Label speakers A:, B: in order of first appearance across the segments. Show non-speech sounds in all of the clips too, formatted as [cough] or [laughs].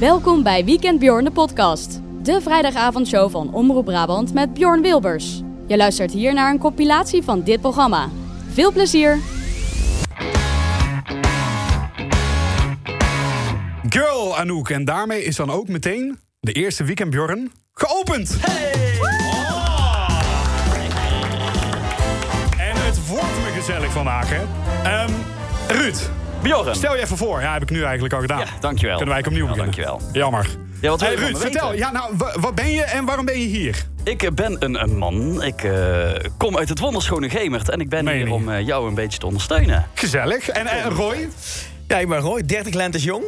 A: Welkom bij Weekend Bjorn de podcast. De vrijdagavondshow van Omroep Brabant met Bjorn Wilbers. Je luistert hier naar een compilatie van dit programma. Veel plezier!
B: Girl Anouk. En daarmee is dan ook meteen de eerste Weekend Bjorn geopend. Oh. En het wordt me gezellig vandaag, hè? Ehm, Ruud,
C: Bjorn.
B: stel je even voor. Ja, heb ik nu eigenlijk al gedaan.
C: Ja, dankjewel.
B: Kunnen wij ook opnieuw
C: Ja,
B: beginnen.
C: dankjewel.
B: Jammer.
C: Ja, wat wil
B: hey,
C: je van
B: Ruud,
C: me weten?
B: vertel. Ja, nou, wa- wat ben je en waarom ben je hier?
C: Ik eh, ben een, een man. Ik eh, kom uit het wonderschone Gemert. En ik ben
B: Meen je
C: hier
B: niet?
C: om eh, jou een beetje te ondersteunen.
B: Gezellig. En, en Roy?
D: Ja, ik ben Roy, 30 lentes jong.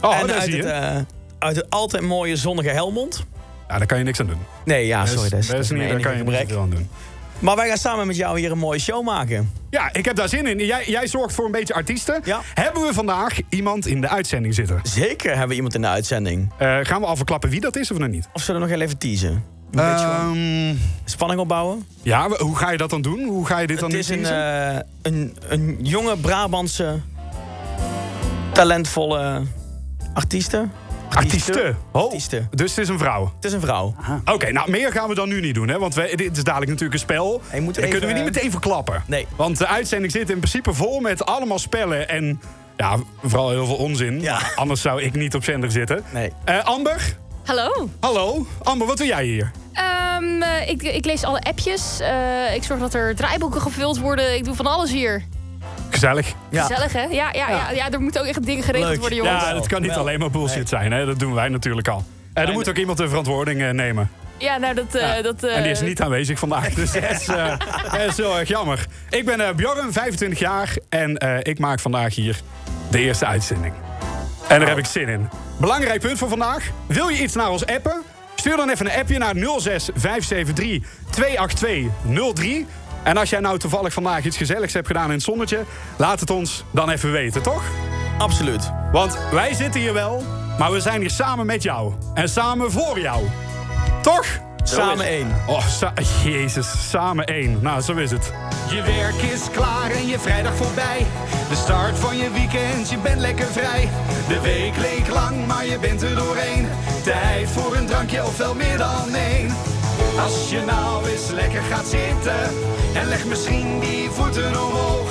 B: Oh,
D: en
B: daar
D: uit
B: zie je.
D: het, eh, uit het altijd mooie zonnige Helmond.
B: Ja, daar kan je niks aan doen.
D: Nee, ja, Ah, sorry, dat is, dat is
B: niet,
D: mijn
B: daar
D: enige
B: kan je niet
D: gebrek.
B: veel aan doen.
D: Maar wij gaan samen met jou hier een mooie show maken.
B: Ja, ik heb daar zin in. Jij, jij zorgt voor een beetje artiesten.
D: Ja.
B: Hebben we vandaag iemand in de uitzending zitten?
D: Zeker hebben we iemand in de uitzending.
B: Eh, gaan we al verklappen wie dat is of nog niet?
D: Of zullen we nog heel even teasen? Een beetje wat
B: Ehm,
D: spanning opbouwen.
B: ja, we- hoe ga je dat dan doen? Hoe ga je dit dan
D: Het is
B: nu
D: een,
B: teasen?
D: eh, een, een jonge Brabantse, talentvolle artieste.
B: Artiesten. Oh,
D: Artiesten.
B: Dus het is een vrouw.
D: Het is een vrouw.
B: Oké, nou meer gaan we dan nu niet doen, hè? Want wij, dit is dadelijk natuurlijk een spel.
D: Hey,
B: En
D: moet er
B: dat kunnen we
D: even- eh,
B: niet meteen verklappen.
D: Nee.
B: Want de uitzending zit in principe vol met allemaal spellen en ja, vooral heel veel onzin.
D: Ja.
B: Anders zou ik niet op zender zitten.
D: Nee.
B: Eh, Amber,
E: Hallo.
B: hallo. Amber, wat doe jij hier?
E: Ehm, eh, ik, ik lees alle appjes. Eh, ik zorg dat er draaiboeken gevuld worden. Ik doe van alles hier.
B: Gezellig.
E: Gezellig, hè? Ja, ja, ja. ja, er moeten ook echt dingen geregeld
D: Leuk.
E: worden, jongens.
B: Ja,
E: Ja,
B: dat kan niet
D: Wel.
B: alleen maar bullshit
D: Nee.
B: zijn, hè? Dat doen wij natuurlijk al. En er moet ook iemand de verantwoording eh, nemen.
E: nou, dat... eh, dat eh,
B: En die is niet aanwezig vandaag, dus dat is, eh, dat is heel erg jammer. Ik ben eh Bjorn, 25 jaar en eh, ik maak vandaag hier de eerste uitzending. En daar heb ik zin in. Belangrijk punt voor vandaag. Wil je iets naar ons appen? Stuur dan even een appje naar 06 573 282 03. En als jij nou toevallig vandaag iets gezelligs hebt gedaan in het zonnetje... laat het ons dan even weten, toch?
D: Absoluut.
B: Want wij zitten hier wel, maar we zijn hier samen met jou. En samen voor jou. Toch?
D: Samen één.
B: Oh, sa- jezus, samen één. Nou, zo is het.
F: Je werk is klaar en je vrijdag voorbij. De start van je weekend, je bent lekker vrij. De week leek lang, maar je bent er doorheen. Tijd voor een drankje of wel meer dan één. Als je nou eens lekker gaat zitten en leg misschien die voeten omhoog.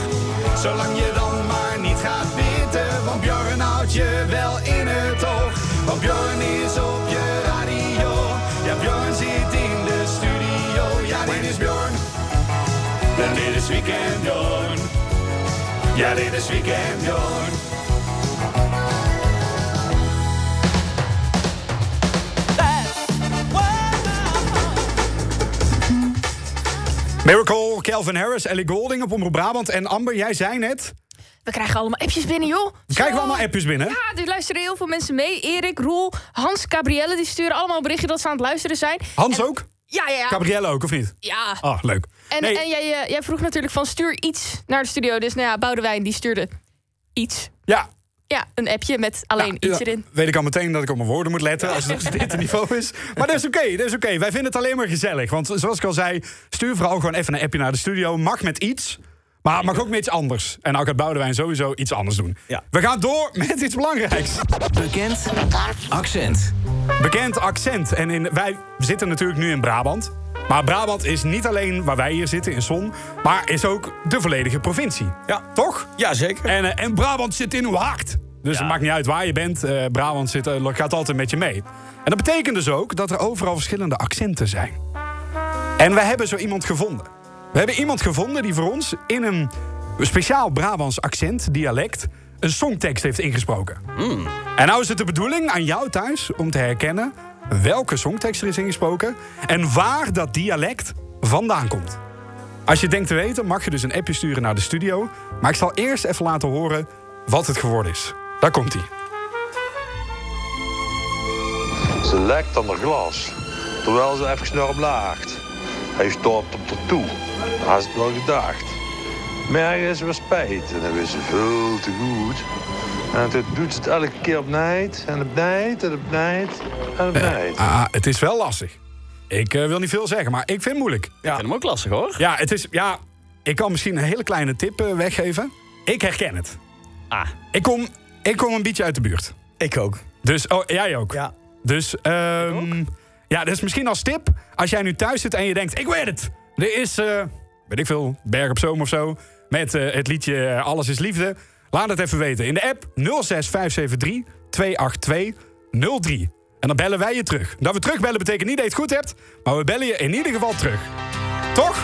F: Zolang je dan maar niet gaat bitten, want Bjorn houdt je wel in het oog. Want Bjorn is op je radio, ja Bjorn zit in de studio. Ja, dit is Bjorn. En dit is Weekend Jorn. Ja, dit is Weekend Jorn.
B: Miracle, Calvin Harris, Ellie Golding op Omroep Brabant. En Amber, jij zei net...
E: We krijgen allemaal appjes binnen, joh.
B: Krijgen we
E: Zo.
B: allemaal appjes binnen?
E: Ja, er luisteren heel veel mensen mee. Erik, Roel, Hans, Gabrielle, die sturen allemaal berichten dat ze aan het luisteren zijn.
B: Hans ook?
E: Ja, ja, ja.
B: Gabrielle ook, of niet?
E: ja.
B: Ah, leuk.
E: En,
B: Nee,
E: en jij, eh, jij vroeg natuurlijk van stuur iets naar de studio. Dus nou ja, Boudewijn, die stuurde iets.
B: ja. nou,
E: Ja, een appje met alleen
B: Ja,
E: iets
B: ja,
E: erin.
B: Weet ik al meteen dat ik op mijn woorden moet letten als
E: [laughs]
B: het op dit niveau is. Maar dat is oké, dat is oké. Wij vinden het alleen maar gezellig. Want zoals ik al zei, stuur vooral gewoon even een appje naar de studio. Mag met iets, maar mag ook met iets anders. En nou gaat Boudewijn sowieso iets anders doen.
D: Ja.
B: We gaan door met iets belangrijks.
F: Bekend accent.
B: bekend accent. En in, wij zitten natuurlijk nu in Brabant. Maar Brabant is niet alleen waar wij hier zitten in Zon, maar is ook de volledige provincie.
D: Ja.
B: Toch?
D: Ja, zeker.
B: En, eh, en Brabant zit in uw hart. Dus het maakt niet uit waar je bent. eh, Brabant zit, eh, gaat altijd met je mee. En dat betekent dus ook dat er overal verschillende accenten zijn. En wij hebben zo iemand gevonden. We hebben iemand gevonden die voor ons in een speciaal Brabants accent, dialect, een songtekst heeft ingesproken. En nou is het de bedoeling aan jou thuis om te herkennen welke songtekst er is ingesproken en waar dat dialect vandaan komt. Als je het denkt te weten, mag je dus een appje sturen naar de studio. Maar ik zal eerst even laten horen wat het geworden is. Daar komt hij.
G: Ze lekt aan haar glas, terwijl ze even naar hem laagt. Hij stoopt op haar toe. Hij had het wel gedacht. Maar er is weer spijt en dat wist ze veel te goed. En toen doet ze het elke keer opnieuw en opnieuw en opnieuw en opnieuw.
B: Ah, het is wel lastig. Ik eh, wil niet veel zeggen, maar ik vind het moeilijk.
C: Ik vind hem ook lastig hoor.
B: Ja, het is, ja, ik kan misschien een hele kleine tip eh, weggeven. Ik herken het.
C: Ah.
B: Ik kom, ik kom een beetje uit de buurt.
D: Ik ook.
B: Dus, oh, jij ook.
D: Ja.
B: Dus, ehm ja, dus misschien als tip. Als jij nu thuis zit en je denkt, ik weet het. Er is, eh, weet ik veel, Berg op Zoom of zo. Met eh, het liedje eh, Alles is Liefde. Laat het even weten. In de app 06573 282 03. En dan bellen wij je terug. Dat we terugbellen betekent niet dat je het goed hebt. Maar we bellen je in ieder geval terug. Toch?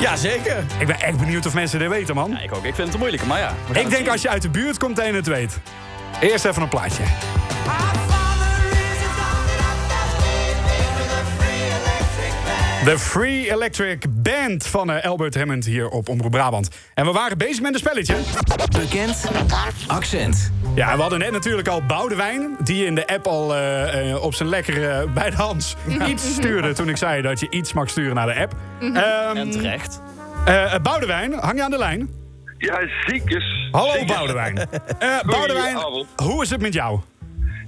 D: Ja, zeker.
B: Ik ben echt benieuwd of mensen dit weten, man.
C: Ja, ik ook. Ik vind het een moeilijke, maar ja. we gaan
B: Ik
C: het
B: denk
C: zien.
B: als je uit de buurt komt en het weet. Eerst even een plaatje. De Free Electric Band van eh, Albert Hammond hier op Omroep Brabant. En we waren bezig met een spelletje.
H: Bekend accent.
B: Ja, en we hadden net natuurlijk al Boudewijn... die in de app al eh, eh, op zijn lekkere eh, bij de Hans iets stuurde... toen ik zei dat je iets mag sturen naar de app. Ehm
C: En terecht.
B: eh, eh, Boudewijn, hang je aan de lijn?
I: Ja, ziekes.
B: Hallo
I: Ziekes.
B: [laughs] Boudewijn. Eh Boudewijn,
I: Goedenavond.
B: hoe is het met jou?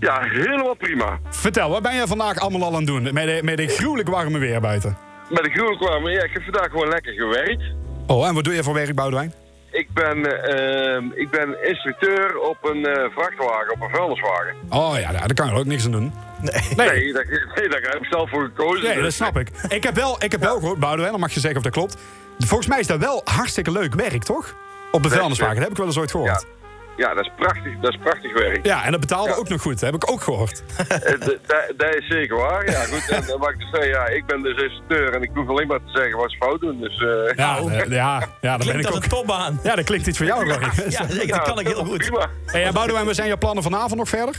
I: Ja, helemaal prima.
B: Vertel, wat ben jij vandaag allemaal al aan het doen? Met, de- met dit gruwelijk warme weer buiten.
I: Met de groene kwamen, ja, ik heb vandaag gewoon lekker gewerkt.
B: Oh, en wat doe je voor werk, Boudewijn?
I: Ik ben, eh, ehm, ik ben instructeur op een eh, vrachtwagen, op een vuilniswagen.
B: Oh ja, daar daar kan je ook niks aan doen. Nee, nee,
I: Nee, daar, nee, daar heb ik zelf voor gekozen.
B: dat
I: dus-
B: snap ik. Ik heb wel, ik heb wel gehoord, Boudewijn, dan mag je zeggen of dat klopt. Volgens mij is dat wel hartstikke leuk werk, toch? Op de vuilniswagen, dat heb ik wel eens ooit
I: Ja.
B: gehoord. Ja,
I: ja, dat is prachtig, dat is prachtig werk.
B: en dat betaalde
I: Ja.
B: ook nog goed, dat heb ik ook gehoord.
I: Eh, d- d- Dat is zeker waar. Ja, goed. En, eh, wat ik dus zei, ja, ik ben dus instructeur en ik hoef alleen maar te zeggen wat ze fout doen. Dus, eh,
B: Ja, eh, ja, ja dat ben
D: Klinkt
B: ik
D: als
B: ook.
D: een topbaan.
B: Ja, dat klinkt iets voor jou, [laughs] Roy.
D: Ja, zeker. Dat kan ik heel goed.
I: Prima.
B: Hey, en Boudewijn, wat zijn jouw plannen vanavond nog verder?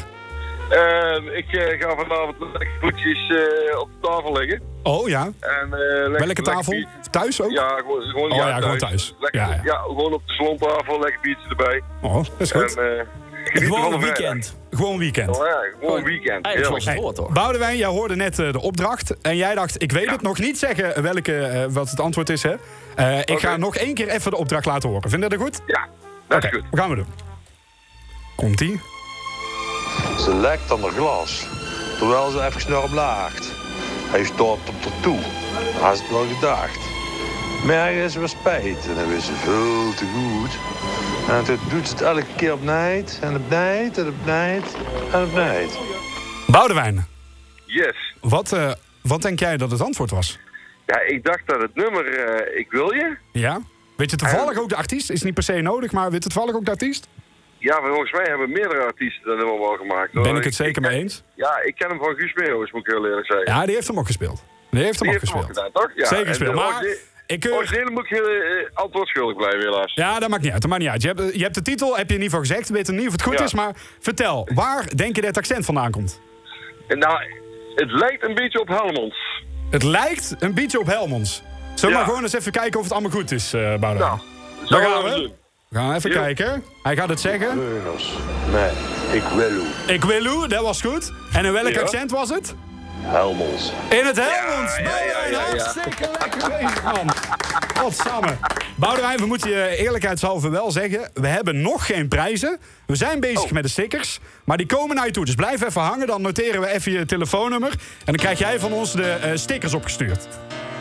I: Ehm, ik eh, ga vanavond lekker voetjes eh, op de tafel liggen.
B: Oh ja,
I: En, eh, lekker,
B: welke
I: lekker
B: tafel?
I: biertje.
B: Thuis ook?
I: Ja, gewoon, gewoon,
B: Oh ja, gewoon thuis.
I: Lekker,
B: Ja,
I: ja,
B: ja.
I: gewoon op de slontafel, lekker biertje erbij.
B: Oh, dat is
I: En,
B: goed.
I: eh, genieten
D: Gewoon
I: van
D: een
I: de vrijdag.
D: weekend.
B: Gewoon weekend.
I: Oh, Ja, gewoon een weekend.
C: Eigenlijk zoals
I: Heerlijk.
C: het hoort, hoor.
B: Boudewijn, jij hoorde net eh, de opdracht. En jij dacht, ik weet het nog niet zeggen welke, eh, wat het antwoord is. Hè? Eh, ik ga
I: Oké.
B: nog één keer even de opdracht laten horen. Vind je dat goed?
I: Ja, dat is
B: Oké,
I: goed.
B: we gaan we doen. Komt-ie?
G: Ze lekt aan haar glas, terwijl ze even snel blaagt. Hij stopt op haar toe, had het wel gedacht. Maar er is weer spijt en dat wist ze veel te goed. En toen doet ze het elke keer opnieuw en opnieuw en opnieuw en opnieuw.
B: Boudewijn,
I: Yes.
B: wat, eh, wat denk jij dat het antwoord was?
I: Ja, ik dacht dat het nummer eh, Ik Wil Je...
B: Ja? Weet je
I: Eh.
B: toevallig ook de artiest? Is niet per se nodig, maar weet je toevallig ook de artiest?
I: Ja, maar volgens mij hebben meerdere artiesten dat nummer wel gemaakt. hoor.
B: Ben ik het zeker mee eens?
I: Ja, ik ken hem van Guus Meeuwis, moet ik heel eerlijk zeggen.
B: Ja, die heeft hem ook gespeeld. Die heeft hem
I: Die
B: ook
I: heeft hem ook
B: gespeeld.
I: gedaan, toch? Ja,
B: Zeker
I: en de
B: gespeeld. Maar
I: origine-
B: ik keur...
I: Originele moet ik eh, eh, antwoord schuldig blijven, helaas.
B: Ja, dat maakt niet uit. Dat maakt niet uit. Je, hebt, je hebt de titel, heb je in ieder geval gezegd. We weten niet of het goed
I: Ja.
B: is, maar vertel. Waar denk je dat het accent vandaan komt?
I: En nou, het lijkt een beetje op Helmond.
B: Het lijkt een beetje op Helmonds. Zullen we
I: Ja.
B: maar gewoon eens even kijken of het allemaal goed is, eh Boudewijn?
I: Nou,
B: Daar
I: zullen
B: gaan
I: we
B: we.
I: doen.
B: We gaan even
I: Jo.
B: kijken. Hij gaat het zeggen.
G: Meuners, nee, ik wil u,
B: Ik wil u, dat was goed. En in welk
I: Ja.
B: accent was het?
G: Helmons.
B: In het Helmonds.
I: ja, ja,
B: Boudewijn,
I: ja, ja.
B: hartstikke lekker bezig, man. Godsamme. Boudewijn, we moeten je eerlijkheidshalve wel zeggen... we hebben nog geen prijzen. We zijn bezig
I: Oh.
B: met de stickers, maar die komen naar je toe. Dus blijf even hangen, dan noteren we even je telefoonnummer... en dan krijg jij van ons de eh, stickers opgestuurd.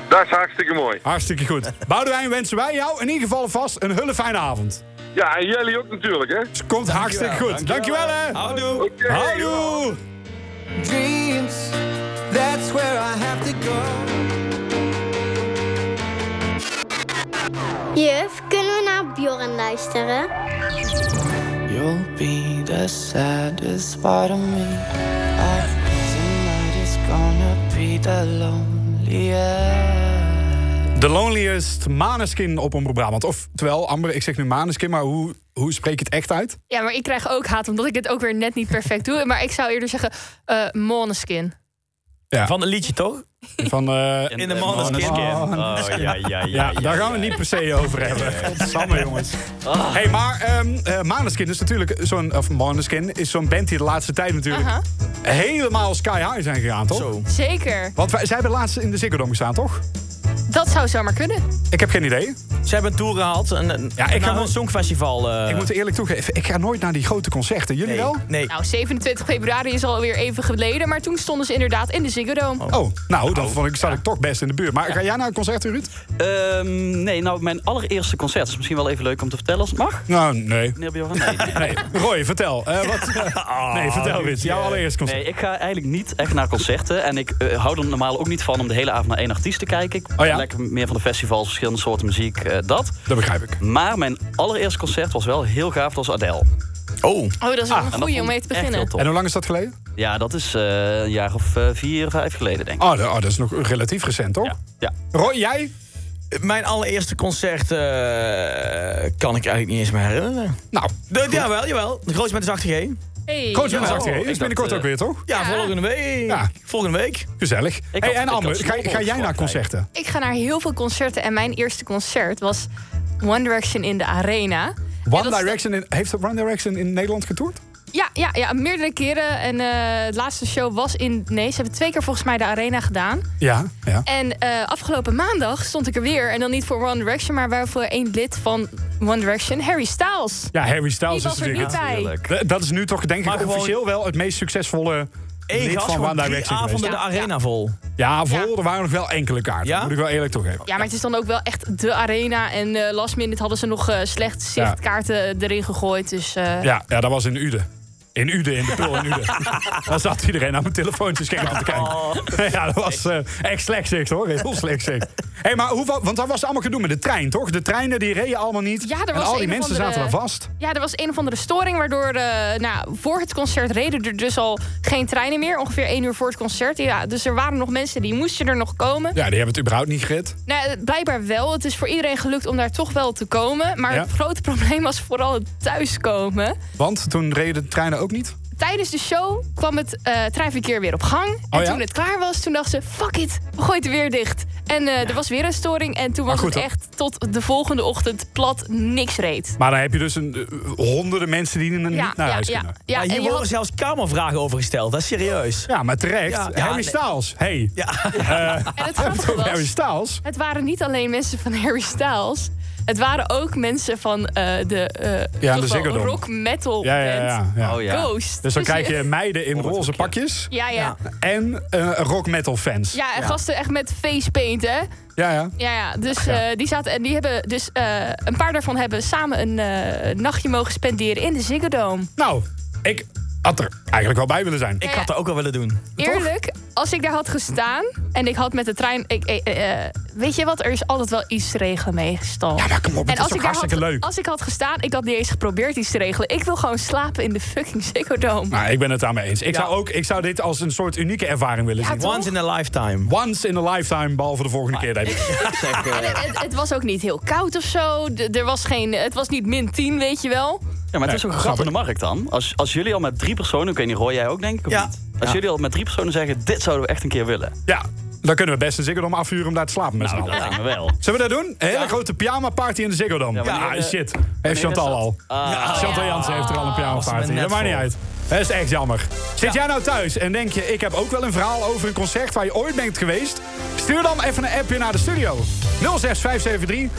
I: Dat is hartstikke mooi.
B: Hartstikke goed. Boudewijn, wensen wij jou in ieder geval vast een hele fijne avond.
I: Ja, en jullie ook natuurlijk, hè?
B: Het komt hartstikke goed. Dankjewel, hè.
D: Houdoe.
I: Oké.
B: Houdoe.
H: Dreams, that's where I have to go.
J: Juf, kunnen we naar Bjorn luisteren?
H: You'll be the saddest part of me. I, tonight is gonna be the loneliest.
B: The Loneliest Maneskin op Omroep Brabant. Oftewel, Amber, ik zeg nu Maneskin, maar hoe, hoe spreek je het echt uit?
E: Ja, maar ik krijg ook haat omdat ik het ook weer net niet perfect doe. Maar ik zou eerder zeggen eh Måneskin.
D: Van een liedje, toch?
B: Van, eh,
D: In de Måneskin.
C: Oh, ja, ja, ja.
B: ja,
C: ja,
B: daar gaan we het niet per se over hebben. Godsamme, jongens. hey, maar ehm eh, Maneskin is natuurlijk zo'n... Of Maneskin is zo'n band die de laatste tijd natuurlijk...
E: Aha.
B: helemaal sky high zijn gegaan, toch?
D: Zo.
E: Zeker.
B: Want wij, zij hebben laatst in de Ziggo Dome gestaan, toch?
E: Dat zou zomaar kunnen.
B: Ik heb geen idee.
D: Ze hebben een tour gehad. Een, een, ja, ik
B: ga
D: ga
B: wel-
D: een songfestival. eh,
B: Ik moet eerlijk toegeven, ik ga nooit naar die grote concerten. Jullie
D: nee,
B: wel?
D: Nee.
E: Nou, 27 februari is alweer even geleden, maar toen stonden ze inderdaad in de Ziggo Dome.
B: Oh, nou, dan vond ik, zat ik toch best in de buurt. Maar ga jij naar een concert, Ruud?
C: Ehm, nee, nou, mijn allereerste concert. Dat is misschien wel even leuk om te vertellen als het mag.
B: Nou, nee.
C: Meneer Bjorn, [laughs] nee.
B: Nee, Roy, vertel. Eh, wat, nee, vertel Ruud. Jouw allereerste concert.
C: Nee, ik ga eigenlijk niet echt naar concerten. En ik eh, hou er normaal ook niet van om de hele avond naar één artiest te kijken. Ik
B: Oh ja?
C: lekker meer van de festivals, verschillende soorten muziek, eh, dat.
B: Dat begrijp ik.
C: Maar mijn allereerste concert was wel heel gaaf. Dat was Adele.
B: Oh.
E: Oh, dat is wel
C: Ah, En
E: een
C: dat
E: goeie om
C: vond ik
E: mee te
C: echt
E: beginnen.
C: heel tof.
B: En hoe lang is dat geleden?
C: Ja, dat is eh, een jaar of eh, vier, vijf geleden, denk ik.
B: Oh, dat oh, dat is nog relatief recent, toch?
C: Ja.
B: Roy, jij?
D: Mijn allereerste concert eh, kan ik eigenlijk niet eens meer herinneren.
B: Nou,
D: De, jawel, jawel. De grootste met de zachte G.
E: Hey.
B: Coach van
D: Ja,
B: Zacht,
D: oh, ik
B: is
D: dacht,
B: binnenkort
C: eh,
B: ook weer, toch?
D: Ja, volgende week.
B: Ja.
D: Volgende week.
B: Gezellig. Hey,
C: had-
B: en
C: ik had
B: Amber, ga,
C: snowboard
B: ga jij naar
C: gehad,
B: concerten?
E: Ik ga naar heel veel concerten en mijn eerste concert was One Direction in de Arena. En
B: One
E: dat is de-
B: Direction in, heeft One Direction in Nederland getoerd?
E: Ja, ja, ja, meerdere keren. En eh het laatste show was in... Nee, ze hebben twee keer volgens mij de Arena gedaan.
B: Ja, ja.
E: En eh, afgelopen maandag stond ik er weer. En dan niet voor One Direction, maar wel voor één lid van One Direction, Harry Styles.
B: Ja, Harry Styles
E: Die was
B: is
E: er niet
B: natuurlijk...
E: bij.
B: D- Dat is nu toch denk ik
D: Maar gewoon-
B: officieel wel het meest succesvolle
D: Eén
B: lid
D: gast
B: van
D: gewoon
B: One
D: drie
B: Direction geweest.
D: avonden de
E: geweest.
D: arena vol.
B: Ja, vol,
E: Ja.
B: er waren nog wel enkele kaarten.
D: Ja?
B: Moet ik wel eerlijk toegeven.
E: Ja, maar het is dan ook wel echt de arena. En eh, last minute hadden ze nog eh, slecht zichtkaarten erin gegooid. Dus eh,
B: Ja, ja, dat was in Uden. In Uden, in de pul in Uden. Daar zat iedereen aan mijn telefoontje scherm aan te kijken. Ja, dat was eh, echt slecht zicht hoor. Heel slecht zicht. hey, maar hoeveel, want dat was allemaal gedoe met de trein, toch? De treinen die reden allemaal niet.
E: Ja, er
B: en
E: was
B: al die
E: een of
B: mensen
E: andere-
B: zaten daar vast.
E: Ja, er was een of andere storing, waardoor eh, nou, voor het concert reden er dus al geen treinen meer. Ongeveer één uur voor het concert. Ja, dus er waren nog mensen die moesten er nog komen.
B: Ja, die hebben het überhaupt niet gered.
E: Nou, eh, blijkbaar wel. Het is voor iedereen gelukt om daar toch wel te komen. Maar
B: Ja.
E: het grote [laughs] probleem was vooral het thuiskomen.
B: Want toen reden de treinen ook niet.
E: Tijdens de show kwam het eh treinverkeer weer op gang. en
B: Oh ja?
E: toen het klaar was, toen dacht ze, fuck it, we gooien het weer dicht. En eh, er was weer een storing. En toen was
B: goed,
E: het
B: hoor.
E: echt tot de volgende ochtend plat niks reed.
B: Maar dan heb je dus een, eh, honderden mensen die er niet naar huis
E: ja,
B: nou kunnen.
D: Ja,
E: ja. En
D: hier
E: je
D: worden
E: had-
D: zelfs kamervragen over gesteld. Dat is serieus.
B: Ja, maar terecht.
D: Ja, ja,
B: Harry
D: nee.
B: Styles, hey. Eh,
D: Ja.
B: [laughs]
E: en het grappige was...
B: Harry Styles.
E: Het waren niet alleen mensen van Harry Styles. Het waren ook mensen van eh, de, eh,
B: Ja,
E: toch
B: de Ziggo
E: wel
B: Dome.
E: rock metal
B: Ja, ja, ja. ja.
C: Oh ja.
E: Ghost.
B: Dus dan krijg
E: je-
B: je meiden in roze pakjes.
E: Ja, ja.
B: En eh, rock metal fans.
E: Ja, en gasten echt met facepaint, hè?
B: ja. ja.
E: Ja, ja. Dus eh, die zaten en die hebben dus eh, een paar daarvan hebben samen een eh, nachtje mogen spenderen in de Ziggo Dome.
B: Nou, ik had er eigenlijk wel bij willen zijn.
D: Ik had dat ook wel willen doen.
E: Eerlijk, als ik daar had gestaan en ik had met de trein, ik, eh, eh, eh, weet je wat? Er is altijd wel iets te regelen meestal.
B: Ja, maar kom op, het
E: En
B: is
E: als
B: toch
E: ik, daar
B: hartstikke
E: had,
B: leuk.
E: als ik had gestaan, ik had niet eens geprobeerd iets te regelen. Ik wil gewoon slapen in de fucking Ziggo Dome.
B: Nou, ik ben het daarmee eens. Ik, zou ook, ik zou dit als een soort unieke ervaring willen zien.
E: toch?
D: Once in a lifetime.
B: Once in a lifetime, behalve de volgende keer. Denk ik.
E: Het, het- het was ook niet heel koud of zo. D- er was geen, het was niet min 10, weet je wel.
C: Ja, maar het is
B: Nee,
C: ook een gat in de markt dan. Als, als jullie al met drie personen, ik weet niet, Roy, jij ook denk ik? Of
D: Ja.
C: niet? Als jullie al met drie personen zeggen, dit zouden we echt een keer willen.
B: Ja, dan kunnen we best een Ziggo Dome afvuren om daar te slapen met z'n
C: Nou, dat
B: allen.
C: lijkt me wel.
B: Zullen we dat doen? Een hele grote pyjama party in de Ziggo Dome.
C: Ja,
B: Ja,
C: wanneer, eh,
B: shit. Heeft Chantal
C: dat? Ah.
B: al. Chantal Jansen heeft er al een pyjama
D: ze
B: party.
D: me net
B: Dat maakt niet
D: voor.
B: uit. Dat is echt jammer. Zit jij nou thuis en denk je, ik heb ook wel een verhaal over een concert waar je ooit bent geweest? Stuur dan even een appje naar de studio. 06573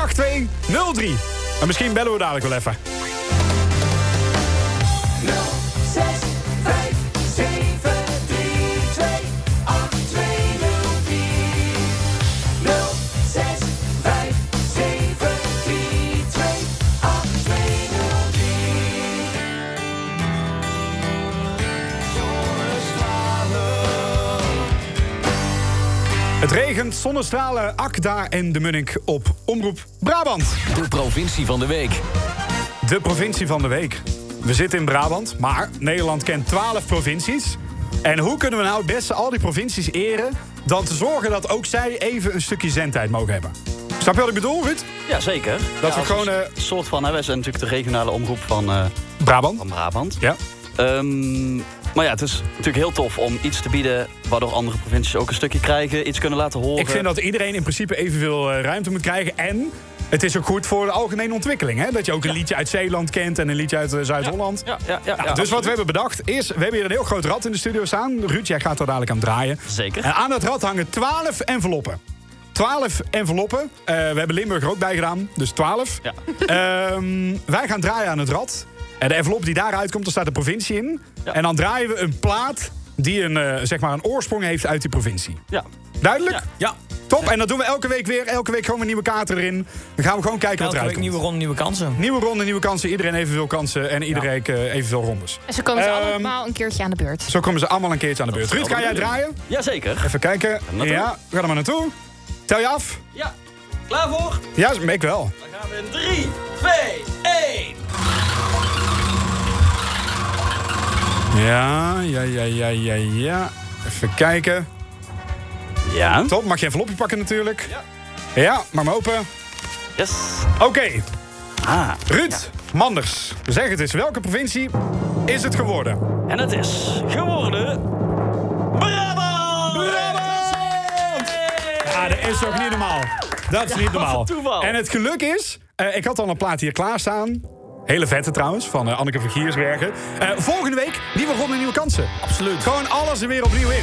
B: 28203. En misschien bellen we dadelijk wel even. 0653728232. Het regent, zonnestralen, Akda en de Munnik op Omroep Brabant.
K: De provincie van de week.
B: De provincie van de week. We zitten in Brabant, maar Nederland kent 12 provincies. En hoe kunnen we nou het beste al die provincies eren... dan te zorgen dat ook zij even een stukje zendtijd mogen hebben? Snap je wat ik bedoel, Ruud?
C: Ja, zeker. Ja,
B: we
C: als
B: gewoon,
C: een
B: eh,
C: soort van, hè, wij zijn natuurlijk de regionale omroep van, eh,
B: Brabant.
C: van Brabant.
B: Ja.
C: Ehm, maar ja, het is natuurlijk heel tof om iets te bieden... waardoor andere provincies ook een stukje krijgen, iets kunnen laten horen.
B: Ik vind dat iedereen in principe evenveel eh, ruimte moet krijgen. En het is ook goed voor de algemene ontwikkeling. Hè? Dat je ook een liedje uit Zeeland kent en een liedje uit eh, Zuid-Holland.
C: Ja, ja, ja,
B: Ja,
C: ja,
B: dus wat we hebben bedacht is, we hebben hier een heel groot rad in de studio staan. Ruud, jij gaat er dadelijk aan draaien.
C: Zeker.
B: En aan dat rad hangen 12 enveloppen. 12 enveloppen. Eh, we hebben Limburg er ook bij gedaan, dus
D: [laughs]
B: 12. Ehm, wij gaan draaien aan het rad. En de envelop die daaruit komt, daar staat de provincie in. En dan draaien we een plaat die een, eh, zeg maar een oorsprong heeft uit die provincie.
C: Ja.
B: Duidelijk? Ja. Top, en dat doen we elke week weer. Elke week gewoon weer nieuwe kaarten erin. Dan gaan we gewoon kijken wat
D: Elke
B: eruit
D: week
B: komt.
D: nieuwe ronde, nieuwe kansen.
B: Nieuwe ronde, nieuwe kansen. Iedereen evenveel kansen en iedereen eh, evenveel rondes.
E: En zo komen ze
B: Ehm,
E: allemaal een keertje aan de beurt.
B: Zo komen ze allemaal een keertje aan de beurt. Ruud, ga jij draaien?
C: Jazeker.
B: Even kijken.
C: maar toe.
B: Ja, ga er maar naartoe. Tel je af?
C: Ja, klaar voor?
B: Ja, ik wel.
C: Dan gaan we in 3, 2, 1.
B: Ja, ja, ja, ja, ja, ja. Even kijken.
C: Ja.
B: Top, mag je een flopje pakken natuurlijk. Ja. mag maar open.
C: Yes. Ah.
B: Oké. Ruud Manders, zeg het eens. Welke provincie is het geworden?
C: En het is geworden... Brabant!
B: Ja, Ah, dat is toch niet normaal. Dat is
C: Ja,
B: niet
C: wat
B: normaal.
C: een toeval.
B: En het geluk is, eh, ik had al een plaat hier klaarstaan. Hele vette trouwens, van eh, Anneke van Giersbergen. Eh, volgende week, nieuwe ronde nieuwe kansen. Absoluut. Gewoon alles er weer opnieuw in.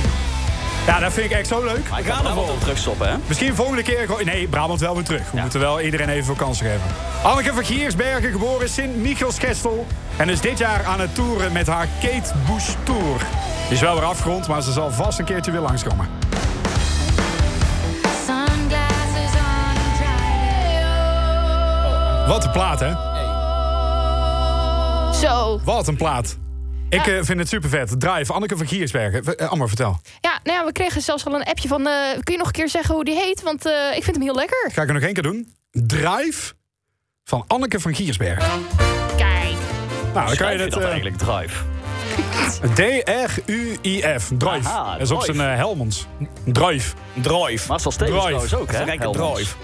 B: Ja, dat vind ik echt zo leuk.
C: Maar ik ga er wel terug stoppen, hè?
B: Misschien volgende keer gewoon... Nee, Brabant wel weer terug. We moeten wel iedereen even vakantie geven. Anneke van Giersbergen, geboren in sint michielskestel En is dit jaar aan het toeren met haar Kate Bush Tour. Die is wel weer afgerond, maar ze zal vast een keertje weer langskomen.
L: Sunglasses on dry
B: Wat een plaat, hè?
E: Zo.
B: Wat een plaat. Ik eh, vind het super vet. Drive, Anneke van Giersbergen. V- eh, Amber, vertel.
E: Ja, nou ja, we kregen zelfs al een appje van... eh, kun je nog een keer zeggen hoe die heet? Want eh, ik vind hem heel lekker.
B: Ga ik er nog één keer doen? Drive van Anneke van Giersbergen.
E: Kijk.
B: Nou, dan kan je
C: Schrijf
B: het...
C: dat
B: eh,
C: eigenlijk, Drive.
B: D-R-U-I-F. Drive.
C: Aha,
B: dat is ook zijn
C: Drive.
B: eh, Helmonds. Drive.
D: Drive.
C: Marcel Stevens
B: Drive.
C: trouwens ook, hè?
D: Verrekker
C: Helmond.
D: drive.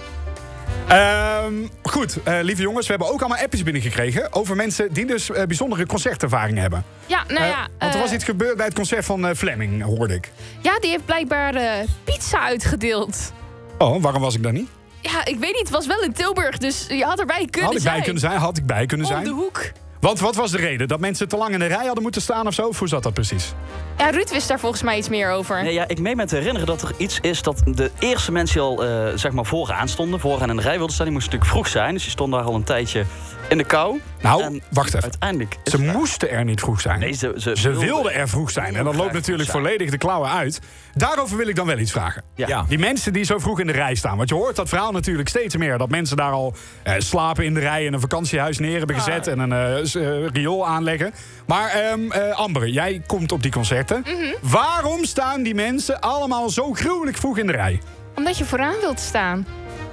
B: Ehm, goed, eh, lieve jongens, we hebben ook allemaal appjes binnengekregen... over mensen die dus eh, bijzondere concertervaring hebben.
E: Ja, nou
B: Eh,
E: ja.
B: want er was
E: eh,
B: iets gebeurd bij het concert van eh, Fleming, hoorde ik.
E: Ja, die heeft blijkbaar eh, pizza uitgedeeld.
B: Oh, waarom was ik daar niet?
E: Ja, ik weet niet. Het was wel in Tilburg, dus je had erbij kunnen
B: had ik bij kunnen zijn, had ik bij kunnen
E: Om
B: zijn.
E: de hoek.
B: Want wat was de reden? Dat mensen te lang in de rij hadden moeten staan of zo? Of hoe zat dat precies?
E: Ja, Ruud wist daar volgens mij iets meer over.
C: Nee, ja, ik meen me te herinneren dat er iets is dat de eerste mensen die al eh, zeg maar vooraan stonden, vooraan in de rij wilden staan, die moesten natuurlijk vroeg zijn. Dus die stonden daar al een tijdje in de kou.
B: Nou,
C: En
B: wacht even.
C: uiteindelijk. is
B: Ze
C: Ehm, het-
B: moesten er niet vroeg zijn.
C: Nee, ze, ze,
B: Ze wilden er vroeg zijn. En dat loopt
C: graag
B: natuurlijk
C: vroeg
B: volledig de klauwen uit. Daarover wil ik dan wel iets vragen.
C: Ja.
B: Die mensen die zo vroeg in de rij staan. Want je hoort dat verhaal natuurlijk steeds meer. Dat mensen daar al eh, slapen in de rij... en een vakantiehuis neer hebben gezet en een eh, s- eh, riool aanleggen. Maar ehm, eh, Amber, jij komt op die concerten.
E: Mhm.
B: Waarom staan die mensen allemaal zo gruwelijk vroeg in de rij?
E: Omdat je vooraan wilt staan.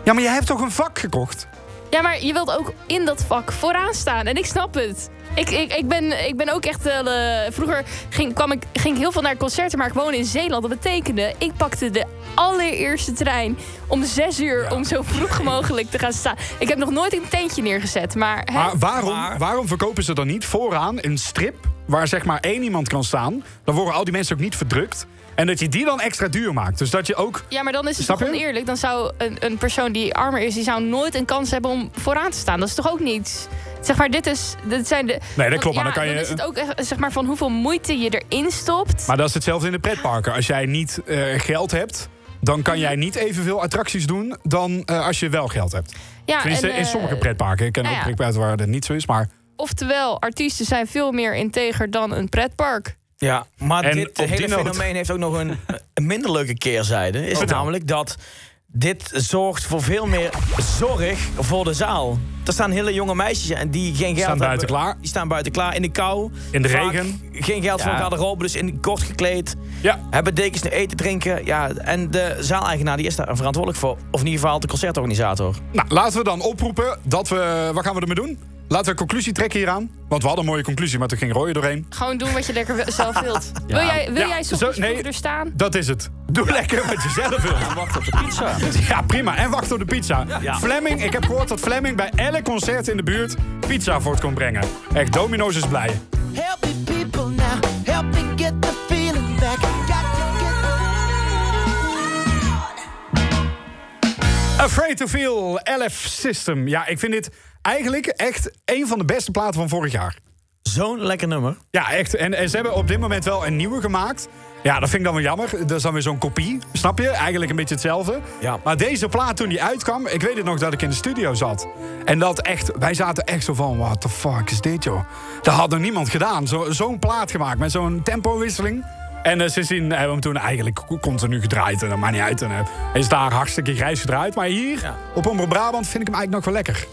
B: Ja, maar je hebt toch een vak gekocht?
E: Ja, maar je wilt ook in dat vak vooraan staan. En ik snap het. Ik, ik, ik, ben, ik ben ook echt... wel, eh, vroeger ging, kwam ik, ging ik heel veel naar concerten, maar ik woon in Zeeland. Dat betekende, ik pakte de allereerste trein om zes uur... om zo vroeg mogelijk te gaan staan. Ik heb nog nooit een tentje neergezet, maar... hè?
B: Maar waarom, waarom verkopen ze dan niet vooraan een strip waar zeg maar één iemand kan staan? Dan worden al die mensen ook niet verdrukt. En dat je die dan extra duur maakt. Dus dat je ook.
E: Ja, maar dan is het
B: Snap
E: toch
B: je?
E: oneerlijk. Dan zou een, een persoon die armer is, die zou nooit een kans hebben om vooraan te staan. Dat is toch ook niets. Zeg maar, dit is. Dit zijn de.
B: Nee, dat
E: want
B: klopt, maar
E: ja,
B: dan kan je-
E: is het ook echt, zeg maar van hoeveel moeite je erin stopt.
B: Maar dat is hetzelfde in de pretparken. Als jij niet eh, geld hebt, dan
E: Mhm.
B: kan jij niet evenveel attracties doen dan eh, als je wel geld hebt.
E: Ja,
B: Tenminste,
E: en,
B: in
E: eh,
B: sommige pretparken. Ik ken
E: nou
B: ook
E: ja.
B: pretparken waar dat niet zo is. Maar
E: Oftewel, artiesten zijn veel meer integer dan een pretpark.
D: Ja, maar
B: En
D: dit
B: op
D: hele
B: die noot-
D: fenomeen heeft ook nog een, een minder leuke keerzijde. Is
B: Vertel.
D: namelijk dat dit zorgt voor veel meer zorg voor de zaal. Er staan hele jonge meisjes en die geen geld
B: Staan
D: hebben.
B: buiten klaar.
D: Die staan buiten klaar in de kou.
B: In de
D: Vaak
B: regen.
D: Geen geld voor
B: Ja.
D: garderobe, dus in kort gekleed.
B: Ja.
D: Hebben dekens, eten, drinken. Ja, en de zaaleigenaar die is daar verantwoordelijk voor. Of in ieder geval de concertorganisator.
B: nou, laten we dan oproepen dat we. Wat gaan we ermee doen? Laten we een conclusie trekken hieraan. Want we hadden een mooie conclusie, maar toen ging Roy er doorheen.
E: Gewoon doen wat je lekker wel-
C: [laughs]
E: zelf wilt. Wil jij, wil
B: Ja,
E: jij
B: zo-
E: soms
B: nee.
E: er staan?
B: Dat is het. Doe lekker wat je
C: [laughs]
B: zelf wilt.
C: Wacht op de pizza.
B: Ja, prima. En wacht op de pizza. Fleming, ik heb gehoord dat Fleming bij elk concert in de buurt pizza voort kon brengen. Echt, Domino's is blij.
M: Help me, people now. Help me get the feeling back. Got to get
B: Afraid to Feel, LF System. Ja, ik vind dit eigenlijk echt een van de beste platen van vorig jaar.
D: Zo'n lekker nummer.
B: Ja, echt. En, en ze hebben op dit moment wel een nieuwe gemaakt. Ja, dat vind ik dan wel jammer. Dat is dan weer zo'n kopie. Snap je? Eigenlijk een beetje hetzelfde. Maar deze plaat toen die uitkwam, ik weet het nog dat ik in de studio zat. En dat echt, wij zaten echt zo van, what the fuck is dit joh? Dat had nog niemand gedaan. Zo- Zo'n plaat gemaakt met zo'n tempowisseling. En eh, sindsdien hebben we hem toen eigenlijk co- continu gedraaid. En dat maakt niet uit. En eh, hij is daar hartstikke grijs gedraaid. Maar hier, op Omroep Brabant, vind ik hem eigenlijk nog wel lekker.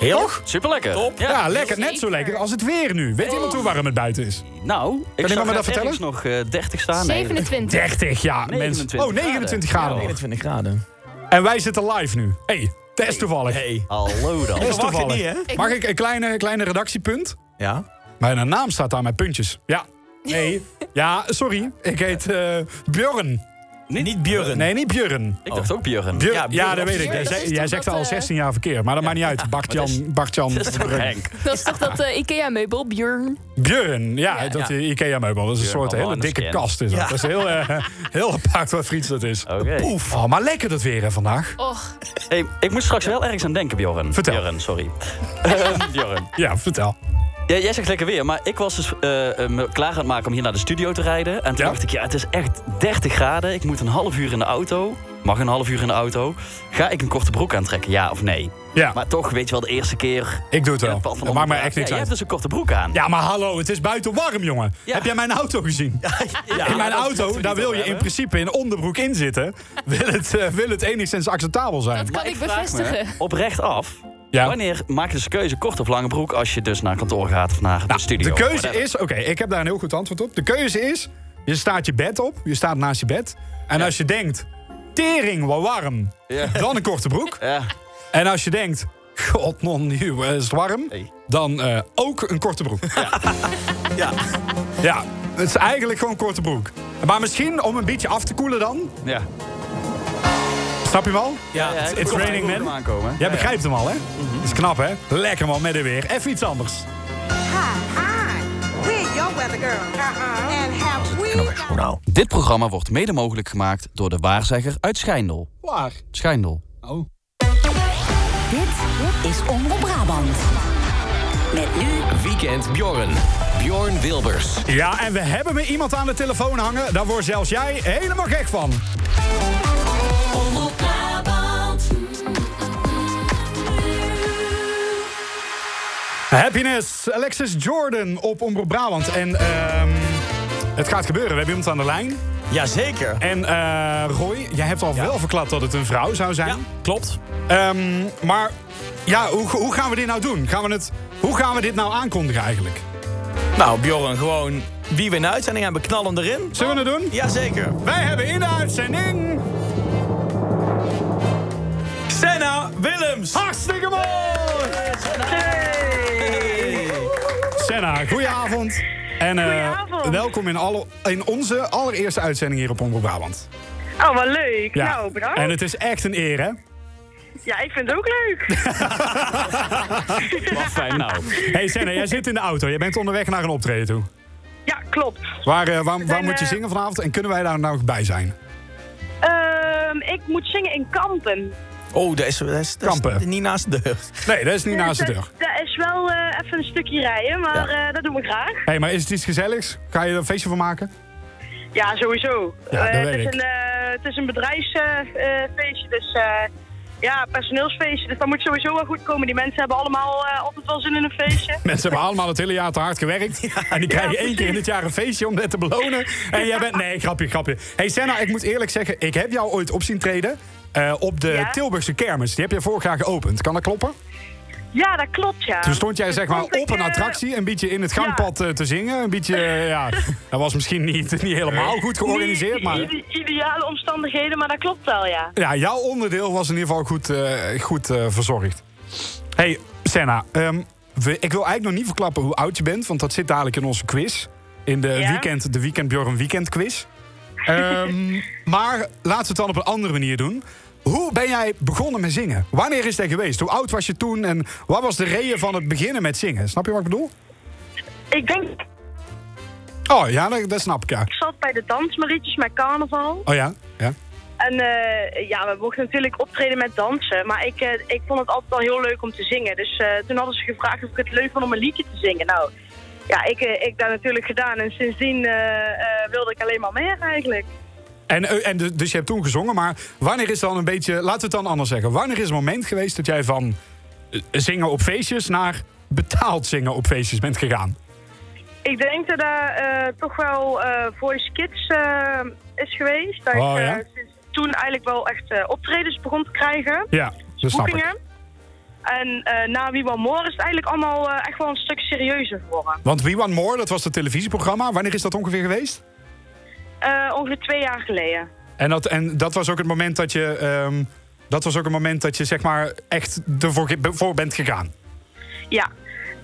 D: Heel?
C: Superlekker.
B: Top. Ja, lekker. Net zo lekker als het weer nu. Weet iemand hoe warm het buiten is?
C: Nou,
B: Kan
C: ik
B: iemand
C: zag
B: me dat
C: net
B: vertellen?
C: ergens nog eh, 30 staan. Nee,
E: 27.
B: 30, ja. mensen. Oh, 29 graden.
C: Ja,
D: 29 graden.
B: En wij zitten live nu. hey, dat is toevallig.
D: Hey.
C: Hallo
B: Dat
C: dan.
B: is
D: verwacht het
B: toevallig.
D: niet, hè?
B: Mag ik een kleine, kleine redactiepunt?
D: Ja.
B: Mijn naam staat daar met puntjes. Ja. Nee. [laughs] ja, sorry. Ik heet eh Björn.
C: Niet,
D: Björn.
B: Nee, niet Björn.
C: Ik dacht ook Björn.
B: Björn-
C: Ja,
B: ja,
C: Björn
B: dat
C: of
B: weet ik.
C: Björn,
B: Jij,
C: dat is
B: jij
C: toch
B: zegt
C: dat,
B: al
C: eh,
B: 16 jaar verkeer, maar dat maakt niet uit. Bart-Jan. Bart-Jan.
C: [laughs] Dat is toch
B: Brugge.
C: Henk?
E: Dat is toch dat eh, IKEA-meubel, Björn?
B: Björn, ja, dat
E: ja.
B: IKEA-meubel. Dat is een
C: Björn
B: soort hele
C: Albanus
B: dikke
C: ken.
B: kast. Is dat.
C: Ja.
B: dat is heel, eh, heel apart wat friets dat is. Poef. Oh, maar lekker dat weer hè, vandaag.
E: Och,
C: Hey, ik moest straks wel ergens aan denken, Bjorn.
B: Vertel.
C: Bjorn, sorry. [laughs] Ehm, Bjorn.
B: Ja, vertel.
C: Ja, jij zegt lekker weer, maar ik was dus eh, eh, me klaar aan het maken om hier naar de studio te rijden. En toen dacht ik, ja, het is echt 30 graden. Ik moet een half uur in de auto. Mag een half uur in de auto. Ga ik een korte broek aantrekken, ja of nee?
B: Ja.
C: Maar toch, weet je wel, de eerste keer...
B: Ik doe het
C: in
B: wel.
C: pad van
B: Dat maakt mij
C: Omroep
B: echt niks
C: ja,
B: uit.
C: Je hebt dus een korte broek aan.
B: Ja, maar hallo, het is buiten warm, jongen. Heb jij mijn auto gezien?
C: Ja,
B: in mijn
C: dat moeten
B: auto,
C: we
B: daar
C: niet
B: wil
C: over
B: je in
C: hebben.
B: principe in onderbroek in zitten. Wil het, eh, wil het enigszins acceptabel zijn?
E: kan ik
C: vraag me
E: bevestigen.
C: Oprecht af.
B: Ja.
C: Wanneer maak je dus de keuze kort of lange broek als je dus naar kantoor gaat of naar de studio?
B: Nou, De keuze
C: Whatever.
B: is, oké, ik heb daar een heel goed antwoord op. De keuze is, je staat je bed op, je staat naast je bed. En als je denkt, tering, wat warm,
C: Ja.
B: dan een korte broek.
C: Ja.
B: En als je denkt, god non, nieuw, is het warm, dan eh, ook een korte broek.
D: Ja.
B: ja, het is eigenlijk gewoon korte broek. Maar misschien om een beetje af te koelen dan.
C: Ja.
B: Snap je hem al?
D: Ja, ja, ik
B: It's
D: kon
B: raining
D: hem
B: man.
C: aankomen.
B: Jij begrijpt hem al, hè?
C: Mhm.
B: Is knap, hè? Lekker man, met en weer. Even iets anders.
H: We're your weather girl. And have we
C: Dit programma wordt mede mogelijk gemaakt door de waarzegger uit Schijndel.
H: Waar?
C: Schijndel.
N: Dit is Omroep Brabant.
K: Met nu. Weekend Bjorn. Bjorn Wilbers.
B: Ja, en we hebben weer iemand aan de telefoon hangen. Daar word zelfs jij helemaal gek van.
L: Omroep Brabant.
B: Happiness, Alexis Jordan op Omroep Brabant. En ehm, het gaat gebeuren, we hebben iemand aan de lijn.
D: Jazeker.
B: En eh, Roy, jij hebt al wel verklapt dat het een vrouw zou zijn.
D: klopt.
B: Ehm, maar ja, hoe, hoe gaan we dit nou doen? Gaan we het, hoe gaan we dit nou aankondigen eigenlijk?
D: Nou, Bjorn, gewoon wie we in de uitzending hebben, knal hem erin.
B: Zullen we het doen?
D: Jazeker.
B: Wij hebben in de uitzending...
D: Senna Willems. Oh,
B: Hartstikke mooi! Senna, goedenavond. En eh, welkom in, alle, in onze allereerste uitzending hier op Omroep Brabant.
I: Oh, wat leuk. Nou, bedankt.
B: En het is echt een eer, hè?
I: Ja, ik vind het ook leuk.
C: Wat fijn nou.
B: hey Senna, jij zit in de auto. Jij bent onderweg naar een optreden toe.
I: Ja, klopt.
B: Waar, eh, waar, waar
I: En,
B: moet je
I: eh,
B: zingen vanavond en kunnen wij daar nou nog bij zijn?
I: Ehm, ik moet zingen in Kampen.
D: Oh, dat is, dat is, dat is
B: Kampen.
D: niet naast de deur.
B: Nee, dat is niet
I: Ja,
B: naast de
I: dat-
B: deur.
I: Dat is wel eh, even een stukje rijden, maar eh, dat doen we graag.
B: Hé, maar is het iets gezelligs? Ga je er een feestje van maken?
I: Ja, sowieso.
B: Ja, dat
I: Eh,
B: weet
I: het, is
B: ik.
I: een, eh, het is een bedrijfsfeestje, dus eh, ja, personeelsfeestje. Dus dat moet sowieso wel goed komen. Die mensen hebben allemaal eh, altijd wel zin in een feestje.
B: [laughs] Mensen hebben allemaal het hele jaar te hard gewerkt. En die krijgen één keer in het jaar een feestje om dat te belonen. En jij bent... Nee, grapje, grapje. hey Senna, ik moet eerlijk zeggen, ik heb jou ooit op zien treden... eh, op de Tilburgse kermis. Die heb je vorig jaar geopend. Kan dat kloppen?
I: Ja, dat klopt, ja.
B: Toen stond jij zeg maar
I: stond ik,
B: op een
I: eh,
B: attractie, een beetje in het gangpad eh, te zingen. Een beetje, eh,
I: [laughs]
B: ja, dat was misschien niet, niet helemaal goed georganiseerd,
I: Niet
B: maar...
I: ide- ideale omstandigheden, maar dat klopt wel, ja.
B: Ja, jouw onderdeel was in ieder geval goed, eh, goed eh, verzorgd. hey, Senna. ehm, we- ik wil eigenlijk nog niet verklappen hoe oud je bent, want dat zit dadelijk in onze quiz. In de
I: Ja.
B: weekend, de Weekend Bjorn Weekend quiz. Ehm, maar laten we het dan op een andere manier doen. Hoe ben jij begonnen met zingen? Wanneer is dat geweest? Hoe oud was je toen? En wat was de reden van het beginnen met zingen? Snap je wat ik bedoel?
I: Ik denk,
B: Oh ja, dat, dat snap ik ja.
I: ik zat bij de dansmarietjes met carnaval.
B: Oh ja, ja.
I: En eh, ja, we mochten natuurlijk optreden met dansen. Maar ik, eh, ik vond het altijd al heel leuk om te zingen. Dus eh, toen hadden ze gevraagd of ik het leuk vond om een liedje te zingen. Nou, ja, ik, eh, ik dat natuurlijk gedaan. En sindsdien eh, eh, wilde ik alleen maar meer eigenlijk.
B: En, eh, en de- dus je hebt toen gezongen, maar wanneer is dan een beetje... Laten we het dan anders zeggen. Wanneer is een moment geweest dat jij van eh, zingen op feestjes... naar betaald zingen op feestjes bent gegaan?
I: Ik denk dat daar eh, toch wel eh, Voice Kids eh, is geweest. Dat
B: Oh,
I: ik eh,
B: ja?
I: sinds toen eigenlijk wel echt eh, optredens begon te krijgen.
B: Ja, dat snap ik.
I: boekingen. En eh, na Wie Will More is het eigenlijk allemaal eh, echt wel een stuk serieuzer geworden.
B: Want We Want More, dat was het televisieprogramma. Wanneer is dat ongeveer geweest?
I: Eh, ongeveer twee jaar geleden.
B: En dat, en dat was ook het moment dat je... ehm, dat was ook het moment dat je zeg maar echt ervoor ge- voor bent gegaan.
I: Ja,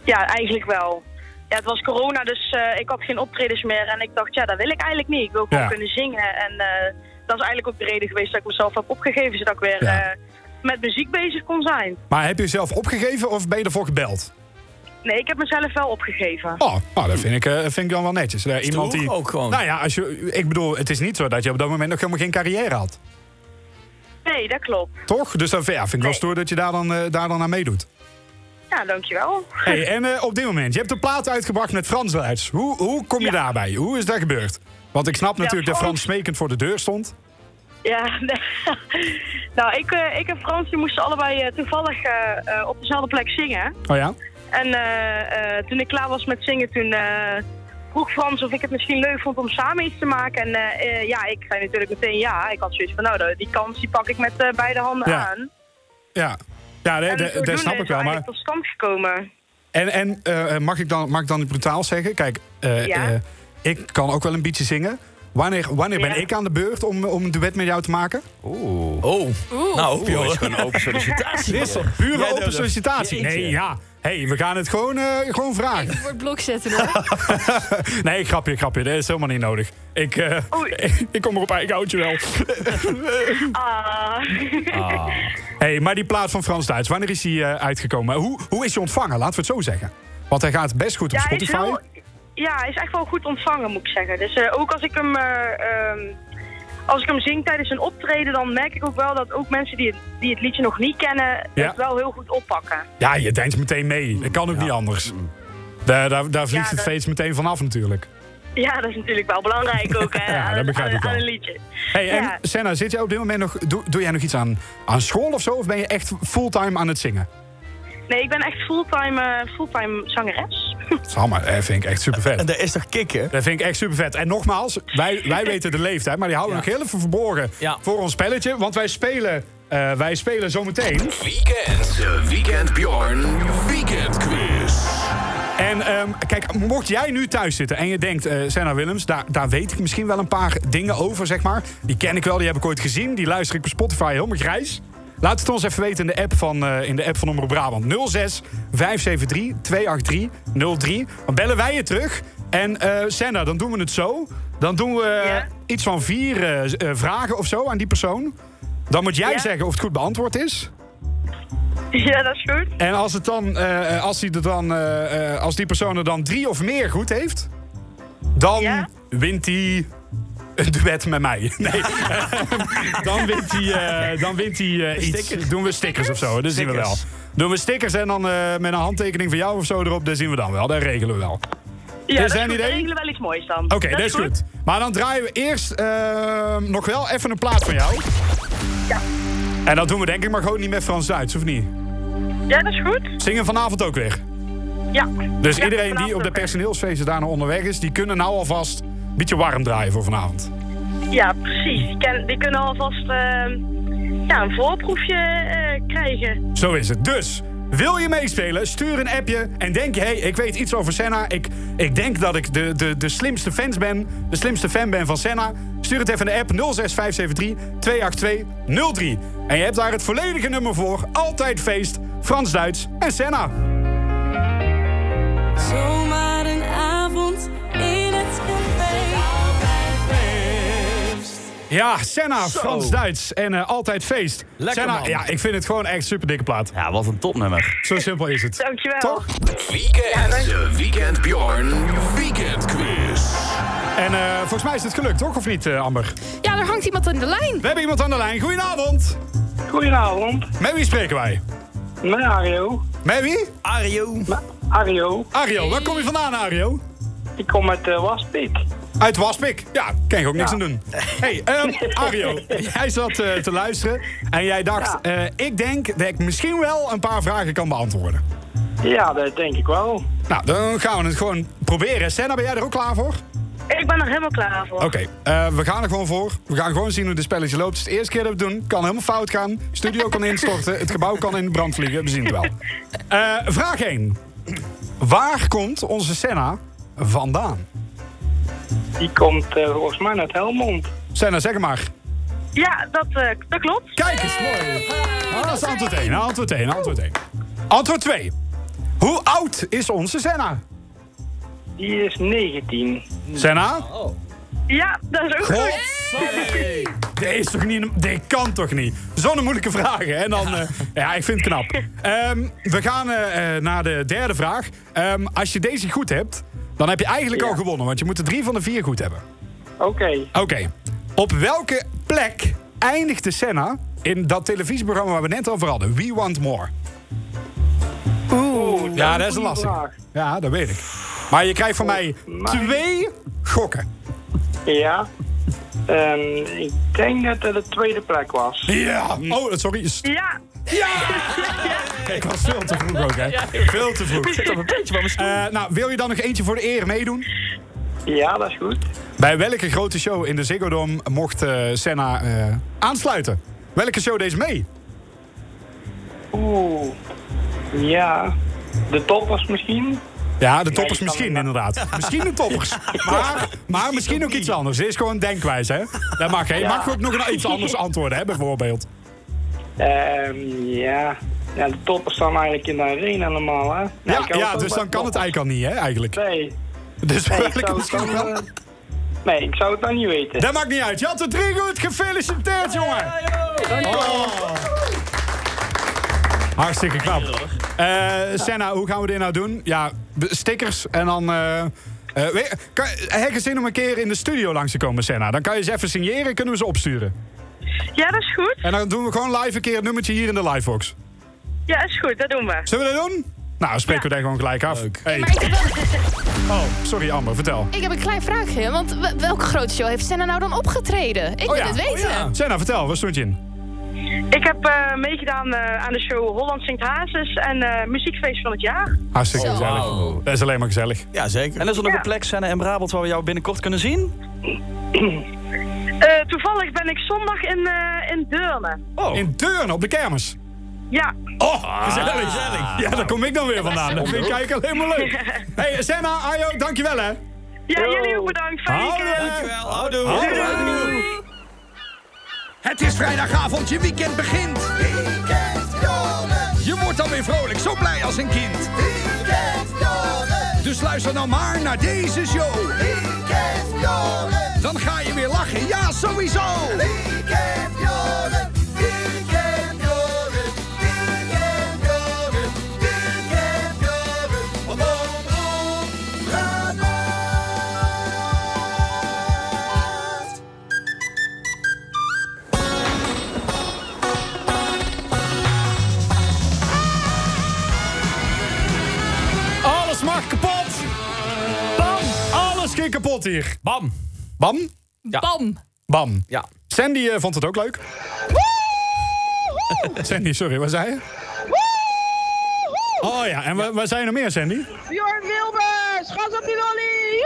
I: ja eigenlijk wel. Ja, het was corona, dus eh, ik had geen optredens meer. En ik dacht, ja, dat wil ik eigenlijk niet. Ik wil gewoon
B: Ja.
I: kunnen zingen. En eh, dat is eigenlijk ook de reden geweest dat ik mezelf heb opgegeven. Zodat ik weer
B: Ja.
I: eh, met muziek bezig kon zijn.
B: Maar heb je jezelf opgegeven of ben je ervoor gebeld?
I: Nee, ik heb mezelf wel opgegeven.
B: Oh, nou, dat vind ik, eh, vind ik dan wel netjes. Eh, iemand
D: toch
B: die,
D: ook gewoon?
B: Nou ja, als je, ik bedoel, het is niet zo dat je op dat moment nog helemaal geen carrière had.
I: Nee, dat klopt.
B: Toch? Dus dat ja, vind ik wel stoer dat je daar dan, eh, daar dan aan meedoet.
I: Ja, dankjewel.
B: Hey, en eh, op dit moment, je hebt een plaat uitgebracht met Frans Duits. Hoe, hoe kom je daarbij? Hoe is dat gebeurd? Want ik snap natuurlijk dat Frans smekend voor de deur stond.
I: Ja, [laughs] nou, ik, eh, ik en Frans die moesten allebei eh, toevallig eh, eh, op dezelfde plek zingen.
B: Oh ja?
I: En eh, eh, toen ik klaar was met zingen, toen eh, vroeg Frans of ik het misschien leuk vond om samen iets te maken. En eh, eh, ja, ik zei natuurlijk meteen ja. Ik had zoiets van, nou, die kans die pak ik met eh, beide handen
B: Ja.
I: aan.
B: Ja, ja nee,
I: En
B: dat-
I: zodoende
B: dat snap
I: is
B: ik wel.
I: het
B: Maar,
I: eigenlijk tot stand gekomen.
B: en en eh, eh, mag, ik dan, mag ik dan brutaal zeggen? Kijk, eh,
I: Ja.
B: eh, ik kan ook wel een beetje zingen. Wanneer, wanneer ben
I: Ja.
B: ik aan de beurt om, om een duet met jou te maken?
C: Oeh.
D: Oh. Nou,
B: joh.
D: joh.
C: Een open sollicitatie.
B: Dit is toch pure
D: Jij
B: open
D: durft.
B: sollicitatie?
D: Jeetje.
B: Nee, ja. hey, we gaan het gewoon, eh, gewoon vragen.
E: Voor het blok zetten hoor.
B: nee, grapje, grapje. Dat is helemaal niet nodig. Ik, eh, [laughs] ik kom er op eigen houtje wel.
I: Ah.
B: hey, maar die plaat van Frans Duits, wanneer is die eh, uitgekomen? Hoe, hoe is die ontvangen? Laten we het zo zeggen. Want hij gaat best goed op
I: [laughs] Ja, hij is
B: Spotify.
I: wel- ja, hij is echt wel goed ontvangen, moet ik zeggen. Dus eh, ook als ik hem... eh, ehm, als ik hem zing tijdens een optreden, dan merk ik ook wel dat ook mensen die het, die het liedje nog niet kennen,
B: Ja.
I: het wel heel goed oppakken.
B: Ja, je denkt meteen mee. Dat kan ook niet anders. Daar, daar, daar vliegt
I: Ja,
B: het
I: dat-
B: feest meteen vanaf natuurlijk.
I: Ja, dat is natuurlijk wel belangrijk ook,
B: [laughs]
I: hè,
B: Ja, dat
I: aan, een-
B: begrijp
I: aan,
B: ik wel.
I: aan een liedje.
B: Hey, en
I: Ja.
B: Senna, zit jij op dit moment nog, doe, doe jij nog iets aan, aan school of zo? Of ben je echt fulltime aan het zingen?
I: Nee, ik ben echt fulltime, eh, fulltime zangeres. [laughs]
B: Samma, dat vind ik echt super vet. [laughs]
D: En dat is toch kicken?
B: Dat vind ik echt super vet. En nogmaals, wij, wij weten de leeftijd, maar die houden we nog heel even verborgen voor ons spelletje. Want wij spelen, eh wij spelen zometeen.
K: Weekend. De Weekend Bjorn Weekend Quiz.
B: En ehm, kijk, mocht jij nu thuis zitten en je denkt, eh Senna Willems, daar, daar weet ik misschien wel een paar dingen over, zeg maar. Die ken ik wel, die heb ik ooit gezien. Die luister ik op Spotify helemaal grijs. Laat het ons even weten in de app van, eh in de app van Omroep Brabant. 06 573 283 03. Dan bellen wij je terug. En eh Senna, dan doen we het zo. Dan doen we eh, iets van vier eh, z- eh, vragen of zo aan die persoon. Dan moet jij
I: Ja.
B: zeggen of het goed beantwoord is.
I: Ja, dat is goed.
B: En als, het dan, eh, eh, als, die er dan, eh, eh, als die persoon er dan drie of meer goed heeft, dan wint hij een duet met mij. [laughs] Nee, dan wint hij, eh, dan wint hij eh, iets. Doen we stickers of zo, dat zien we wel.
D: Stickers.
B: Doen we stickers en dan eh, met een handtekening van jou of zo erop, dat zien we dan wel. Dat regelen we wel.
I: Ja,
B: is
I: dat
B: dat een
I: goed. We
B: idee?
I: regelen wel iets moois dan.
B: Oké, dat is goed. Maar dan draaien we eerst eh, nog wel even een plaat van jou. Ja. En dat doen we denk ik maar gewoon niet met Frans Duits, of niet?
I: Ja, dat is goed.
B: Zingen vanavond ook weer.
I: Ja.
B: Dus
I: Ja,
B: iedereen die
I: vanavond
B: op de
I: ook weer.
B: personeelsfeesten daar nog onderweg is, die kunnen nou alvast een beetje warm draaien voor vanavond.
I: Ja, precies. Die, ken- die kunnen alvast eh, ja, een voorproefje eh, krijgen.
B: Zo is het. Dus, wil je meespelen? Stuur een appje en denk je, hé, hey, ik weet iets over Senna. Ik, ik denk dat ik de, de, de slimste fans ben, de slimste fan ben van Senna. Stuur het even in de app 06573-28203. En je hebt daar het volledige nummer voor. Altijd feest, Frans Duits en Senna.
O: Zomaar een avond in het café.
B: Ja, Senna,
O: Zo.
B: Frans Duits en eh, altijd feest.
C: Lekker,
B: Senna,
C: man.
B: ja, ik vind het gewoon echt super dikke plaat.
C: Ja, wat een topnummer.
B: Zo simpel is het.
I: Dankjewel.
B: Toch?
K: Weekend. De Weekend Bjorn Weekend Quiz.
B: En eh, volgens mij is het gelukt, toch? Of niet, eh, Amber?
E: Ja, er hangt iemand aan de lijn.
B: We hebben iemand aan de lijn. Goedenavond.
P: Goedenavond.
B: Met wie spreken wij?
P: Met Ario.
B: Met wie?
D: Ario.
P: Ario.
B: Ario, waar kom je vandaan, Ario?
P: Ik kom uit eh, Waspik.
B: Uit Waspik? Ja, kan je ook niks
P: Ja.
B: aan doen. hey, ehm, Ario, jij zat eh, te luisteren en jij dacht... eh, ik denk dat ik misschien wel een paar vragen kan beantwoorden.
P: Ja, dat denk ik wel.
B: Nou, dan gaan we het gewoon proberen. Senna, ben jij er ook klaar voor?
I: Ik ben er helemaal klaar voor.
B: Oké, eh, we gaan er gewoon voor. We gaan gewoon zien hoe dit spelletje loopt. Het is de eerste keer dat we het doen. Kan helemaal fout gaan. Studio kan instorten. Het gebouw kan in de brand vliegen. We zien het wel. Eh, vraag 1. Waar komt onze Senna vandaan?
P: Die komt eh, volgens mij uit Helmond.
B: Senna, zeg het maar.
I: Ja, dat, eh, dat klopt.
B: Kijk eens, mooi. Ah, dat is antwoord 1. Antwoord 1, antwoord 1. Antwoord 2. Hoe oud is onze Senna?
P: Die is 19.
B: Senna?
I: Ja, dat is ook
B: God. Dit is toch niet... Dit kan toch niet? Zo'n moeilijke vraag, hè? En dan... eh, Ja, ik vind het knap. Ehm, we gaan eh, eh, naar de derde vraag. Ehm, als je deze goed hebt, dan heb je eigenlijk al gewonnen. Want je moet er drie van de vier goed hebben.
P: Oké.
B: Oké. Op welke plek eindigde Senna in dat televisieprogramma waar we net over hadden? We Want More. Oeh. Ja, dat is een lastige. Ja, dat weet ik. Maar je krijgt van
I: Oh
B: mij twee gokken.
P: Ja. Ehm, ik denk dat het de tweede plek was.
B: Ja. Oh, sorry.
I: Ja.
B: Ik was veel te vroeg ook, hè? Veel te vroeg.
P: zit op een
B: beetje van nou, wil je dan nog eentje voor de eer meedoen?
P: Ja, dat is goed.
B: Bij welke grote show in de Ziggo Dome mocht eh, Senna eh, aansluiten? Welke show deed ze mee?
P: Oeh. Ja. De toppers misschien?
B: Ja, de toppers
P: kan
B: misschien, inderdaad. Misschien de
P: [laughs]
B: toppers. Maar, maar misschien ook iets anders. Dit is gewoon denkwijze, hè? Dat mag, hè? Je
P: Ja.
B: mag ook nog een, iets anders antwoorden, hè, bijvoorbeeld.
P: Ehm, ja. ja. De toppers staan eigenlijk in de arena normaal, hè?
B: Ja, ja dus dan kan het eigenlijk al niet, hè, eigenlijk.
P: Nee.
B: Dus
P: Nee, ik
B: welke
P: zou
B: misschien
P: het dan,
B: wel?
P: eh, Nee, ik zou het dan niet weten.
B: Dat maakt niet uit. Je had er drie goed. Gefeliciteerd, jongen. Oh. Hartstikke knap. Eh, Senna, hoe gaan we dit nou doen? Ja, b- stickers en dan... eh eh, weet- kan, heb je zin om een keer in de studio langs te komen, Senna? Dan kan je ze even signeren, kunnen we ze opsturen.
I: Ja, dat is goed.
B: En dan doen we gewoon live een keer een nummertje hier in de livebox.
I: Ja, is goed. Dat doen we.
B: Zullen we dat doen? Nou, dan spreken we daar gewoon gelijk af. Hey.
E: Maar ik heb, wel-
B: Oh, sorry Amber, vertel.
E: ik heb een klein vraagje. Want we- welke grote show heeft Senna nou dan opgetreden?
C: Oh
E: Ik wil
B: Oh
E: het weten.
B: Senna, vertel, waar stond je in?
I: Ik heb eh, meegedaan eh, aan de show Holland Sint Hazes en eh, Muziekfeest van het Jaar.
B: Hartstikke
I: Zo.
B: gezellig. Dat is alleen maar gezellig.
D: Ja, zeker.
C: En is er nog een plek, Senne en Brabant, waar we jou binnenkort kunnen zien?
I: Eh, toevallig ben ik zondag in, eh, in Deurne.
B: In Deurne, op de kermis.
I: Ja.
B: Oh, gezellig.
C: Ah,
B: Ja, daar kom ik dan weer vandaan. Dat vind ik eigenlijk alleen maar leuk. hey, Senna, Ayo, dankjewel hè.
I: Ja, jullie ook bedankt. Fijne
B: Houdoe.
I: weekend.
B: Dankjewel,
D: houdoe.
F: Het is vrijdagavond, je weekend begint. Je wordt dan weer vrolijk, zo blij als een kind. Dus luister nou maar naar deze show. Dan ga je weer lachen, ja sowieso.
B: Alles mag kapot. Bam. Alles ging kapot hier. Bam. Bam?
E: Bam.
B: Bam.
D: Ja.
B: Sandy eh, vond het ook leuk. [laughs] Sandy, sorry, wat zei je? Oh ja, en wa- waar zijn er meer, Sandy?
M: Bjorn Wilbers, gas op die lolly!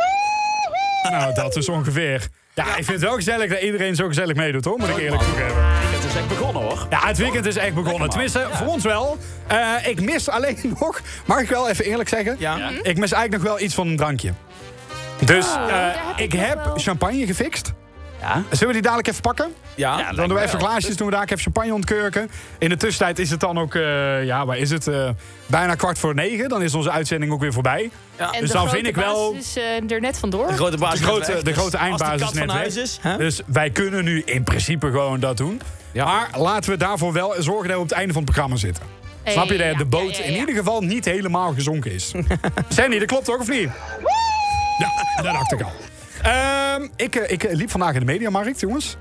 B: Nou, dat is ongeveer. Ja, ik vind het wel gezellig dat iedereen zo gezellig meedoet, hoor. Moet ik eerlijk toegeven.
C: Het is echt begonnen, hoor.
B: Ja, het weekend is echt begonnen.
C: Lekker, man.
B: Tenminste, voor ons wel. Eh, ik mis alleen [laughs] nog, mag ik wel even eerlijk zeggen?
D: Ja. Ja.
B: Ik mis eigenlijk nog wel iets van een drankje. Dus
D: Oh,
B: eh, ik heb champagne gefixt.
C: Ja.
B: Zullen we die dadelijk even pakken?
D: Ja.
B: dan doen we even glaasjes, doen we daar even champagne ontkurken. In de tussentijd is het dan ook, eh, ja, waar is het? eh, bijna kwart voor negen. Dan is onze uitzending ook weer voorbij.
E: En
B: Dus
E: de
B: dan
E: grote
B: vind ik wel...
E: baas is eh, er net vandoor.
D: De grote baas
B: De grote, de grote eindbasis
D: dus. Als de kat
B: net
D: van
B: weg.
D: huis is, hè?
B: Dus wij kunnen nu in principe gewoon dat doen. Maar laten we daarvoor wel zorgen dat we op het einde van het programma zitten.
E: Hey,
B: Snap je dat
E: ja,
B: de boot
E: ja, ja,
B: in
E: ja.
B: ieder geval niet helemaal gezonken
E: [laughs]
B: is? Sandy, dat klopt ook of niet? Ja, dat dacht ik al. Ehm, ik, eh, ik eh, liep vandaag in de mediamarkt, jongens.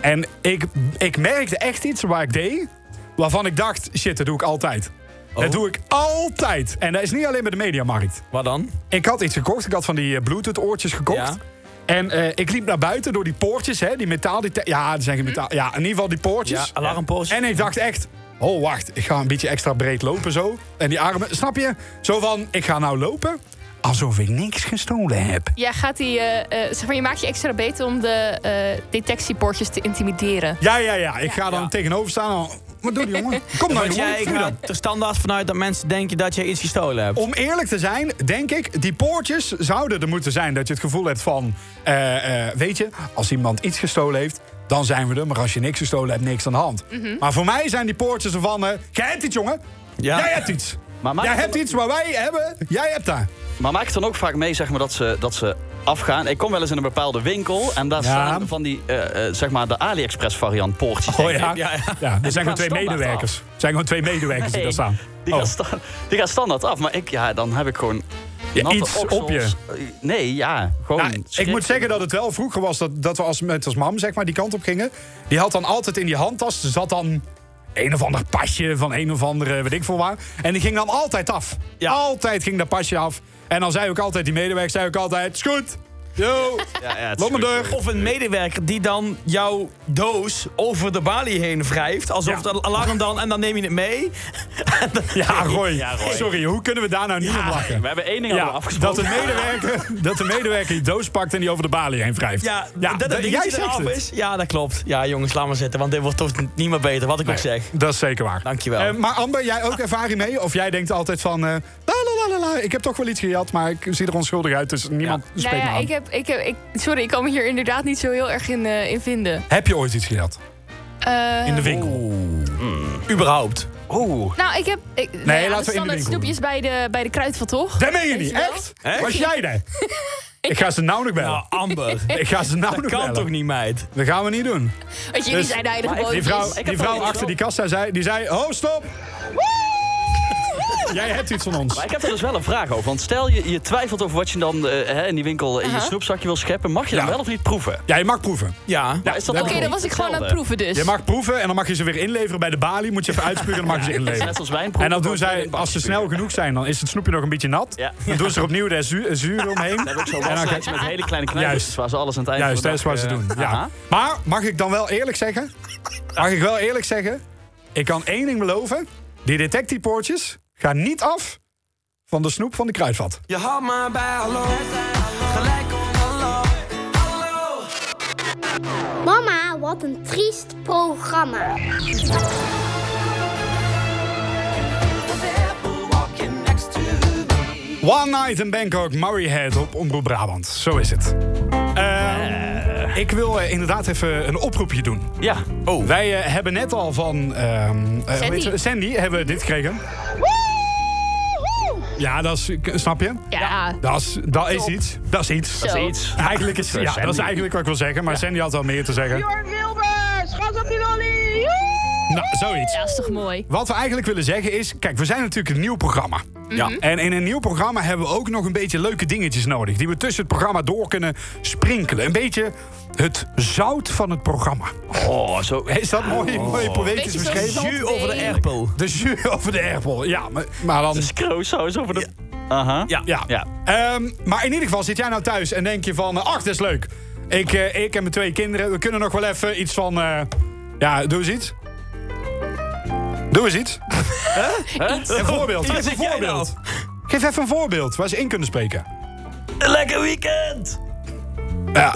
B: En ik, ik merkte echt iets waar ik deed, waarvan ik dacht, shit, dat doe ik altijd.
E: Oh.
B: Dat doe ik altijd. En dat is niet alleen bij de Mediamarkt.
D: Wat dan?
B: Ik had iets gekocht. Ik had van die eh, Bluetooth-oortjes gekocht. En eh, ik liep naar buiten door die poortjes, hè, die metaaldetector. Ja, die zijn geen metaal. Ja, in ieder geval die poortjes.
D: Ja, alarmpoortjes.
B: En ik dacht echt, oh wacht, ik ga een beetje extra breed lopen zo. En die armen, snap je? Zo van, ik ga nou lopen alsof ik niks gestolen heb.
E: Ja, gaat die, eh, eh, zeg maar, je maakt je extra beter om de eh, detectiepoortjes te intimideren.
B: Ja, ja, ja. Ik ga dan tegenover staan. en dan, Wat doe die jongen? Kom nou,
D: Want
B: jongen.
D: jij
B: vuur dan.
D: gaat er standaard vanuit dat mensen denken dat jij iets gestolen hebt.
B: Om eerlijk te zijn, denk ik, die poortjes zouden er moeten zijn. Dat je het gevoel hebt van, eh, eh, weet je, als iemand iets gestolen heeft, dan zijn we er. Maar als je niks gestolen hebt, niks aan de hand.
E: Mhm.
B: Maar voor mij zijn die poortjes ervan, eh, jij hebt iets, jongen. Jij hebt iets.
C: Maar maakt
B: jij
C: het
B: hebt iets waar wij hebben, jij hebt daar.
C: Maar maak ik dan ook vaak mee zeg maar, dat, ze, dat ze afgaan? Ik kom wel eens in een bepaalde winkel en daar
B: Ja.
C: staan van die, eh, eh, zeg maar, de AliExpress variant poortjes.
B: Oh
C: [laughs] denk
B: ja,
C: ik.
B: ja,
C: Die
B: er zijn
C: gaan
B: gewoon twee
C: standaard
B: medewerkers. Er zijn gewoon twee medewerkers die
C: Nee,
B: daar staan. Oh,
C: Die, gaan sta- die gaan standaard af, maar ik, ja, dan heb ik gewoon
B: Ja,
C: natte
B: iets op
C: oksels. Nee, ja, gewoon
B: Nou, ik
C: schrik.
B: moet zeggen dat het wel vroeger was dat, dat we als, met als mam zeg maar, die kant op gingen. Die had dan altijd in die handtas, zat dan een of ander pasje van een of andere, weet ik veel waar. En die ging dan altijd af. Altijd ging dat pasje af. En dan zei ook altijd die medewerker, zei ook altijd, is goed. Yo, loop maar door.
D: Of een medewerker die dan jouw doos over de balie heen wrijft. Alsof
B: Ja.
D: dat alarm dan... En dan neem je het mee. [laughs] En dan-
B: Ja, Roy.
D: Ja, Roy.
B: Sorry, hoe kunnen we daar nou niet
D: Ja,
B: om lachen?
C: We hebben één ding
B: Ja,
C: al afgesproken.
B: dat de, medewerker, [laughs] dat de medewerker die doos pakt en die over de balie heen wrijft.
D: Ja, dat het
B: jij
D: dingetje
B: zegt
D: eraf
B: het.
D: is. Ja, dat klopt. Ja, jongens, laat maar zitten. Want dit wordt toch niet meer beter, wat ik ook zeg.
B: Dat is zeker waar.
D: Dankjewel.
B: Eh, maar Amber, jij ook ervaring mee? Of jij denkt altijd van... eh, la, la, la, la, la, ik heb toch wel iets gejat, maar ik zie er onschuldig uit. Dus niemand spreekt
E: Nou ja,
B: me aan.
E: ik heb, ik heb, ik, sorry, ik kan me hier inderdaad niet zo heel erg in, eh, in vinden.
B: Heb je ooit iets gejat?
E: Eh,
B: In de winkel?
D: Oh. Überhaupt?
B: Oeh.
E: Nou, ik heb. Ik, nee,
B: laten we in de
E: dat standaard
B: winkel doen.
E: snoepjes bij de, bij de kruidvat, toch?
B: Dat meen je
E: Weet
B: niet,
E: wel?
B: echt? Was jij daar?
E: [laughs]
B: Ik ga ze nou nog bellen.
D: Nou, Amber.
B: [laughs] Ik ga ze nou
D: dat
B: nog
D: kan
B: bellen.
D: toch niet, meid?
B: Dat gaan we niet doen.
E: Want jullie zijn de heilige
B: Dus, maar ik- Die
E: boontjes.
B: vrouw,
E: Oh, Ik heb
B: die
E: wel
B: vrouw
E: iets
B: achter die kassa zei, die zei... Oh, stop! jij hebt iets van ons.
C: Maar ik heb er dus wel een vraag over. Want stel je, je twijfelt over wat je dan eh, hè, in die winkel in je
E: Aha.
C: snoepzakje wil scheppen. Mag je
B: Ja.
C: dan wel of niet proeven?
B: Ja, je mag proeven.
D: Ja.
C: Maar is dat
E: Oké,
C: dan
E: dan
C: niet
E: was ik gewoon aan het
C: hetzelfde?
E: proeven
B: Je
E: dus.
B: mag proeven en dan mag je ze weer inleveren bij de balie. Moet je even uitspugen en dan mag je ze inleveren.
C: Net als wijn proeven,
B: En dan doen
C: wordt het
B: zij,
C: in een
B: als ze
C: bakje
B: snel genoeg zijn, dan is het snoepje nog een beetje nat.
C: Ja.
B: Dan doen ze er opnieuw de zuur,
C: [laughs]
B: zuur omheen.
C: Dan heb ik zo'n
B: En dan-
C: waslijstje met hele kleine knijpjes
B: Juist.
C: waar ze alles aan het einde
B: Juist,
C: van
B: dat
C: de
B: is wat ze
C: dag,
B: doen.
C: eh, aha.
B: Ja. Maar mag ik dan wel eerlijk zeggen? Mag ik wel eerlijk zeggen? Ik kan één ding beloven. Die detectiepoortjes gaan niet af van de snoep van de kruidvat.
M: Je houdt me bij hallo. Gelijk op hallo. Hallo.
Q: Mama, wat een triest programma.
B: One Night in Bangkok, Murray Head op Omroep Brabant. Zo is het. Ehm, ik wil eh, inderdaad even een oproepje doen.
C: Ja.
B: Oh. Wij eh, hebben net al van ehm, eh, hoe
E: Sandy.
B: heet ze? Sandy hebben we dit gekregen. Ja, dat is, k- snap je?
E: Ja.
B: Dat is, dat is iets. Dat is iets.
E: Dat is
C: iets.
B: [laughs] Eigenlijk is,
C: Zo,
B: ja,
C: Sandy.
B: dat is eigenlijk wat ik wil zeggen, maar Sandy had wel meer te zeggen.
H: Bjorn Wilbers, gas op die lolly. Joe!
B: Nou, zoiets.
E: Ja, is toch mooi?
B: Wat we eigenlijk willen zeggen is... Kijk, we zijn natuurlijk een nieuw programma. Ja.
E: Mhm.
B: En in een nieuw programma hebben we ook nog een beetje leuke dingetjes nodig... die we tussen het programma door kunnen sprinkelen. Een beetje het zout van het programma.
C: Oh, zo.
B: Is dat mooi, mooi poëtisch
E: Beetje zo'n
B: beschreven?
E: jus
D: over de erpel.
B: De jus over de erpel. Ja, maar, maar dan...
C: Kroossaus Dus over de... Aha.
D: Ja.
B: Ja.
C: Ja.
B: Ehm, maar in ieder geval zit jij nou thuis en denk je van... eh, Ach, dat is leuk. Ik, eh, ik en mijn twee kinderen, we kunnen nog wel even iets van... eh, ja, doe eens iets. Doe eens iets. Een voorbeeld.
D: Hier
B: Geef een
D: zit jij
B: voorbeeld. Geef even een voorbeeld waar ze in kunnen spreken.
C: Een lekker weekend!
B: Ja.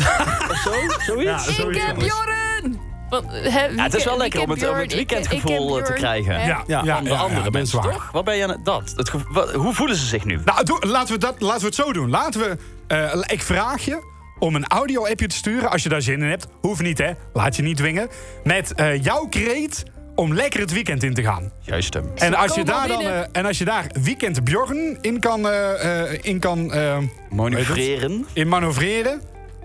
C: Of zo? Zoiets?
E: Ik heb Bjorn! Want, hè,
C: Ja, het is wel
E: weekend-
C: lekker om het, om het
E: weekend Bjorn, ik- ik
C: weekendgevoel
E: heb
C: eh, te
E: Bjorn,
C: krijgen.
E: hè?
B: Ja, ja,
C: Van de
B: ja,
C: andere
B: dat is
C: mensen,
B: waar.
C: toch? Wat ben je aan het... Dat, het gevo- wat- hoe voelen ze zich nu?
B: Nou, doe- laten, we dat, laten we het zo doen. Laten we, eh, ik vraag je om een audio-appje te sturen. Als je daar zin in hebt. Hoeft niet, hè? Laat je niet dwingen. Met eh, jouw kreet om lekker het weekend in te gaan.
C: Juist ehm, hem.
B: En als, je
E: Kom
B: daar
E: maar
B: dan,
E: binnen.
B: eh, en als je daar weekend Bjorn in kan, eh, eh, in kan eh,
C: Manoeuvreren.
B: in manoeuvreren,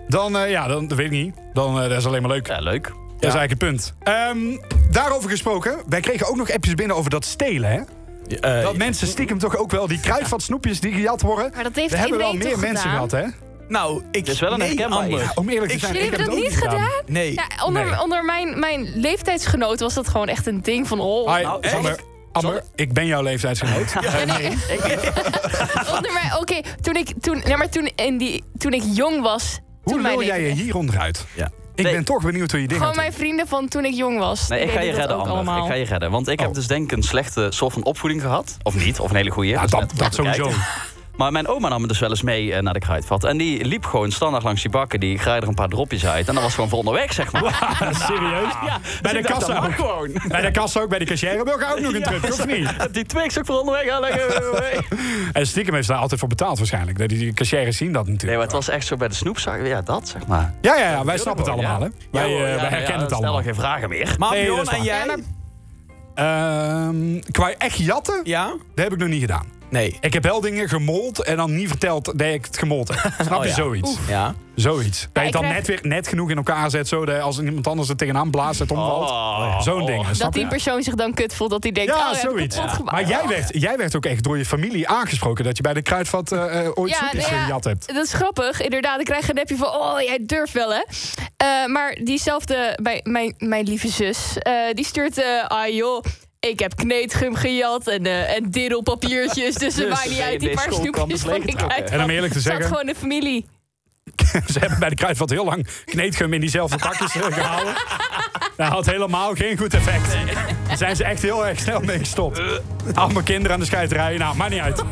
B: dan, eh, ja, dan dat weet ik niet. Dan eh, dat is alleen maar leuk.
C: Ja, leuk.
B: Dat is eigenlijk het punt. Ehm, daarover gesproken, wij kregen ook nog appjes binnen over dat stelen, hè?
D: Eh,
B: Dat mensen stiekem toch ook wel die kruidvat snoepjes die gejat worden.
E: Maar dat heeft
B: We hebben wel
E: iedereen
B: meer
E: toch
B: mensen
E: gedaan?
B: gehad, hè?
D: nou, ik...
C: is wel een
D: nee,
C: herkenbaar iets.
D: Amber.
B: Om eerlijk te
D: Ik-
B: zijn,
E: Jullie
B: ik heb
E: hebben
B: het
E: dat
B: ook
E: niet gedaan?
D: Nee.
E: Ja, onder
B: Nee.
E: onder mijn, mijn leeftijdsgenoot was dat gewoon echt een ding van... Oh,
B: Hi,
D: Nou,
B: Sander.
D: echt?
B: Amber, ik ben jouw leeftijdsgenoot. Eh,
E: Ook naar mij- Oh, Oké, toen ik, toen, nee, maar toen, in die, toen ik jong was...
B: Hoe
E: toen mijn
B: wil jij je
E: leven-
B: hier onderuit? Ik ben toch benieuwd hoe je dingen
E: Gewoon mijn vrienden van toen ik jong was.
C: Nee,
E: die
C: ik ga je
E: deden dat
C: redden,
E: ook
C: Amber.
E: allemaal.
C: Ik ga je redden. Want ik
B: Oh.
C: heb dus denk ik een slechte soort van opvoeding gehad. Of niet, of een hele Dus goede. Ja, dat,
B: Nou, sowieso.
C: Maar mijn oma nam me dus wel eens mee eh, naar de kruidvat. En die liep gewoon standaard langs die bakken. Die graaide er een paar dropjes uit. En dat was gewoon voor onderweg,
B: [laughs]
C: zeg maar.
B: Serieus?
C: [laughs] [laughs] Ja,
B: bij de
C: ik dacht, dat
B: kassa
C: mag
B: ook.
C: gewoon. [laughs]
B: Bij de kassa ook, bij de cashier wil ik ook nog een
C: Ja,
B: truc, of niet?
C: Die Twix ook voor onderweg
B: [laughs]
C: aanleggen.
B: En stiekem heeft ze daar altijd voor betaald waarschijnlijk. Die- Die cashiers zien dat natuurlijk.
C: Nee, maar het was echt zo bij de snoepzak. Ja, dat zeg maar.
B: Ja, ja, ja, wij snappen het allemaal, hè? Wij, eh, wij herkennen het allemaal.
C: Stel al geen vragen meer.
D: Maar
B: Nee,
D: Bjorn,
B: dat is
D: en
B: waar.
D: jij?
B: Ehm, qua echt jatten, dat heb ik nog niet gedaan.
D: Nee.
B: Ik heb wel dingen gemold en dan niet verteld dat ik het gemold
E: [laughs]
B: heb. Snap
D: Oh,
B: je
D: ja.
B: zoiets?
D: Oef. Ja.
B: Zoiets. dat je het
D: ik
B: dan
D: krijg-
B: net weer net genoeg in elkaar zet, zodat als iemand anders er tegenaan blaast, het omvalt. Oh Zo'n ding.
E: Oh. Dat
B: snap
E: die
B: je?
E: persoon zich dan kut voelt. Dat hij denkt,
B: Ja,
E: oh,
B: zoiets.
E: Heb ik kapot
B: Maar
E: gemaakt.
B: jij werd, jij werd ook echt door je familie aangesproken dat je bij de kruidvat eh, eh, ooit
E: Ja,
B: zoetjes
E: nou ja,
B: gejat hebt.
E: Dat is grappig, inderdaad. Ik krijg een appje van, oh, jij durft wel, hè? Eh, maar diezelfde, bij mijn, mijn lieve zus, eh, die stuurt... eh, ah joh, ik heb kneedgum gejat en, eh en diddelpapiertjes.
B: [laughs]
E: Dus het
B: Dus
E: maakt niet uit, die
B: deze
E: paar
B: school kwam
E: snoepjes
B: dus
E: van ik
B: leeggetrokken.
E: uit.
B: En om eerlijk te zeggen-
E: Zat gewoon de familie.
B: [laughs] Ze hebben bij de kruidvat heel lang kneedgum in diezelfde pakjes eh, gehouden. Dat had helemaal geen goed effect. Daar zijn ze echt heel erg snel mee gestopt. Allemaal kinderen aan de scheiterij. Nou, maakt niet uit.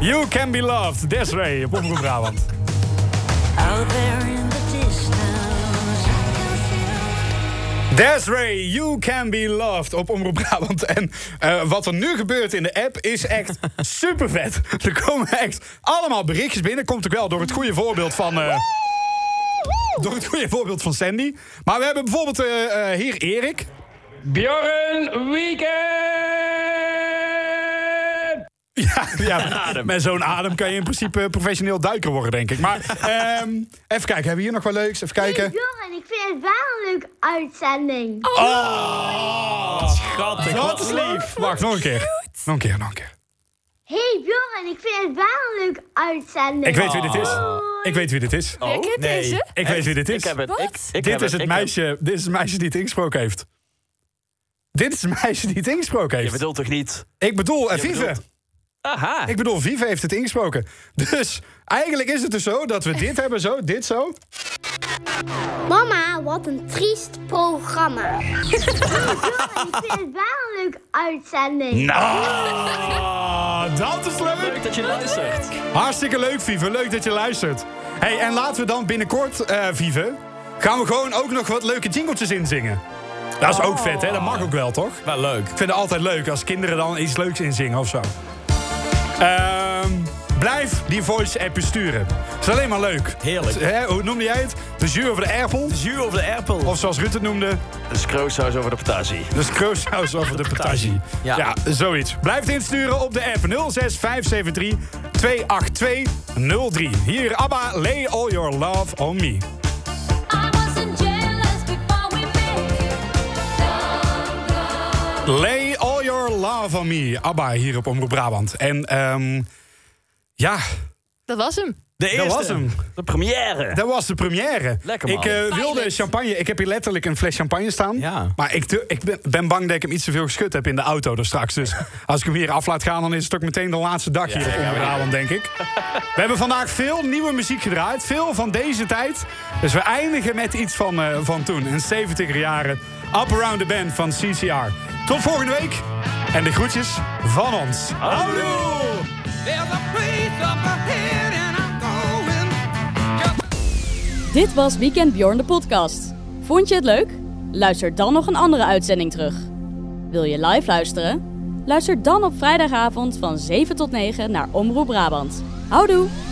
B: You can be loved. Desiree op Omroep Brabant.
O: Out there in the distance.
B: Desiree, you can be loved op Omroep Brabant. En eh, wat er nu gebeurt in de app is echt super vet. Er komen echt allemaal berichtjes binnen. Komt ook wel door het goede voorbeeld van... eh, door het goede voorbeeld van Sandy. Maar we hebben bijvoorbeeld eh, eh, hier Erik. Bjorn Weekend! [laughs] Ja, ja met zo'n adem kan je in principe professioneel duiker worden, denk ik. [laughs] Maar ehm, even kijken, hebben we hier nog wat leuks? Even kijken.
Q: Joran, ik vind het wel een leuke uitzending.
B: Oh, schattig. Wat lief. Wacht, nog een keer. Nog een keer, nog een keer.
Q: Hey Joran, ik vind het wel een leuke uitzending.
B: Ik weet wie dit is. Ik weet wie dit is.
Q: Jij kent Oh, nee. deze?
B: Ik weet wie dit is.
Q: Ik heb het, Wat? ik- ik
C: heb
B: dit,
C: het,
B: is het
C: ik
B: meisje, dit is het meisje die het ingesproken heeft. Dit is het meisje die het ingesproken heeft.
C: Je bedoelt toch niet...
B: Ik bedoel, eh,
C: Je
B: Vive.
C: bedoelt- Aha.
B: Ik bedoel, Vive heeft het ingesproken. Dus eigenlijk is het dus zo dat we dit hebben zo, dit zo.
Q: Mama, wat een triest programma. hey Joran, ik vind het wel een leuke uitzending.
B: Nou, dat is leuk. Leuk
C: dat je luistert.
B: Hartstikke leuk, Vive. Leuk dat je luistert. hey, en laten we dan binnenkort, eh Vive... gaan we gewoon ook nog wat leuke jingeltjes inzingen. Dat is ook vet, hè? Dat mag ook wel, toch? Wel leuk. Ik vind het altijd leuk als kinderen dan iets leuks inzingen of zo. Ehm, blijf die voice-app sturen. Het is alleen maar leuk. Heerlijk. hoe noemde jij het? De jus over de erpel? De jus over de erpel. Of zoals Ruud het noemde...
C: De skrooshuis over de potatie.
B: De skrooshuis Dus over de potatie. Ja. zoiets. Blijf het insturen op de app 06573 28203. Hier, ABBA, lay all your love on me. Lay all your love on me. ABBA hier op Omroep Brabant. En ehm ja,
E: Dat was hem.
B: dat was hem.
C: De première.
B: Dat was de première.
C: Lekker, man.
B: ik eh, wilde champagne. Ik heb hier letterlijk een fles champagne staan. Maar ik, tu- ik ben, ben bang dat ik hem iets te veel geschud heb in de auto daar straks.
C: [laughs]
B: Dus als ik hem hier af laat gaan, dan is het ook meteen de laatste dag hier
F: gaan
B: op
F: we
B: Omroep
F: niet
B: Brabant, denk
C: [laughs]
B: ik. We hebben vandaag veel nieuwe muziek gedraaid. Veel van deze tijd. Dus we eindigen met iets van, eh, van toen. Een 70er jaren. Up Around the Band van CCR. Tot volgende week. En de groetjes van ons. Houdoe!
M: There's a place up ahead and I'm going.
A: Dit was Weekend Bjorn de podcast. Vond je het leuk? Luister dan nog een andere uitzending terug. Wil je live luisteren? Luister dan op vrijdagavond van 7 tot 9 naar Omroep Brabant. Houdoe!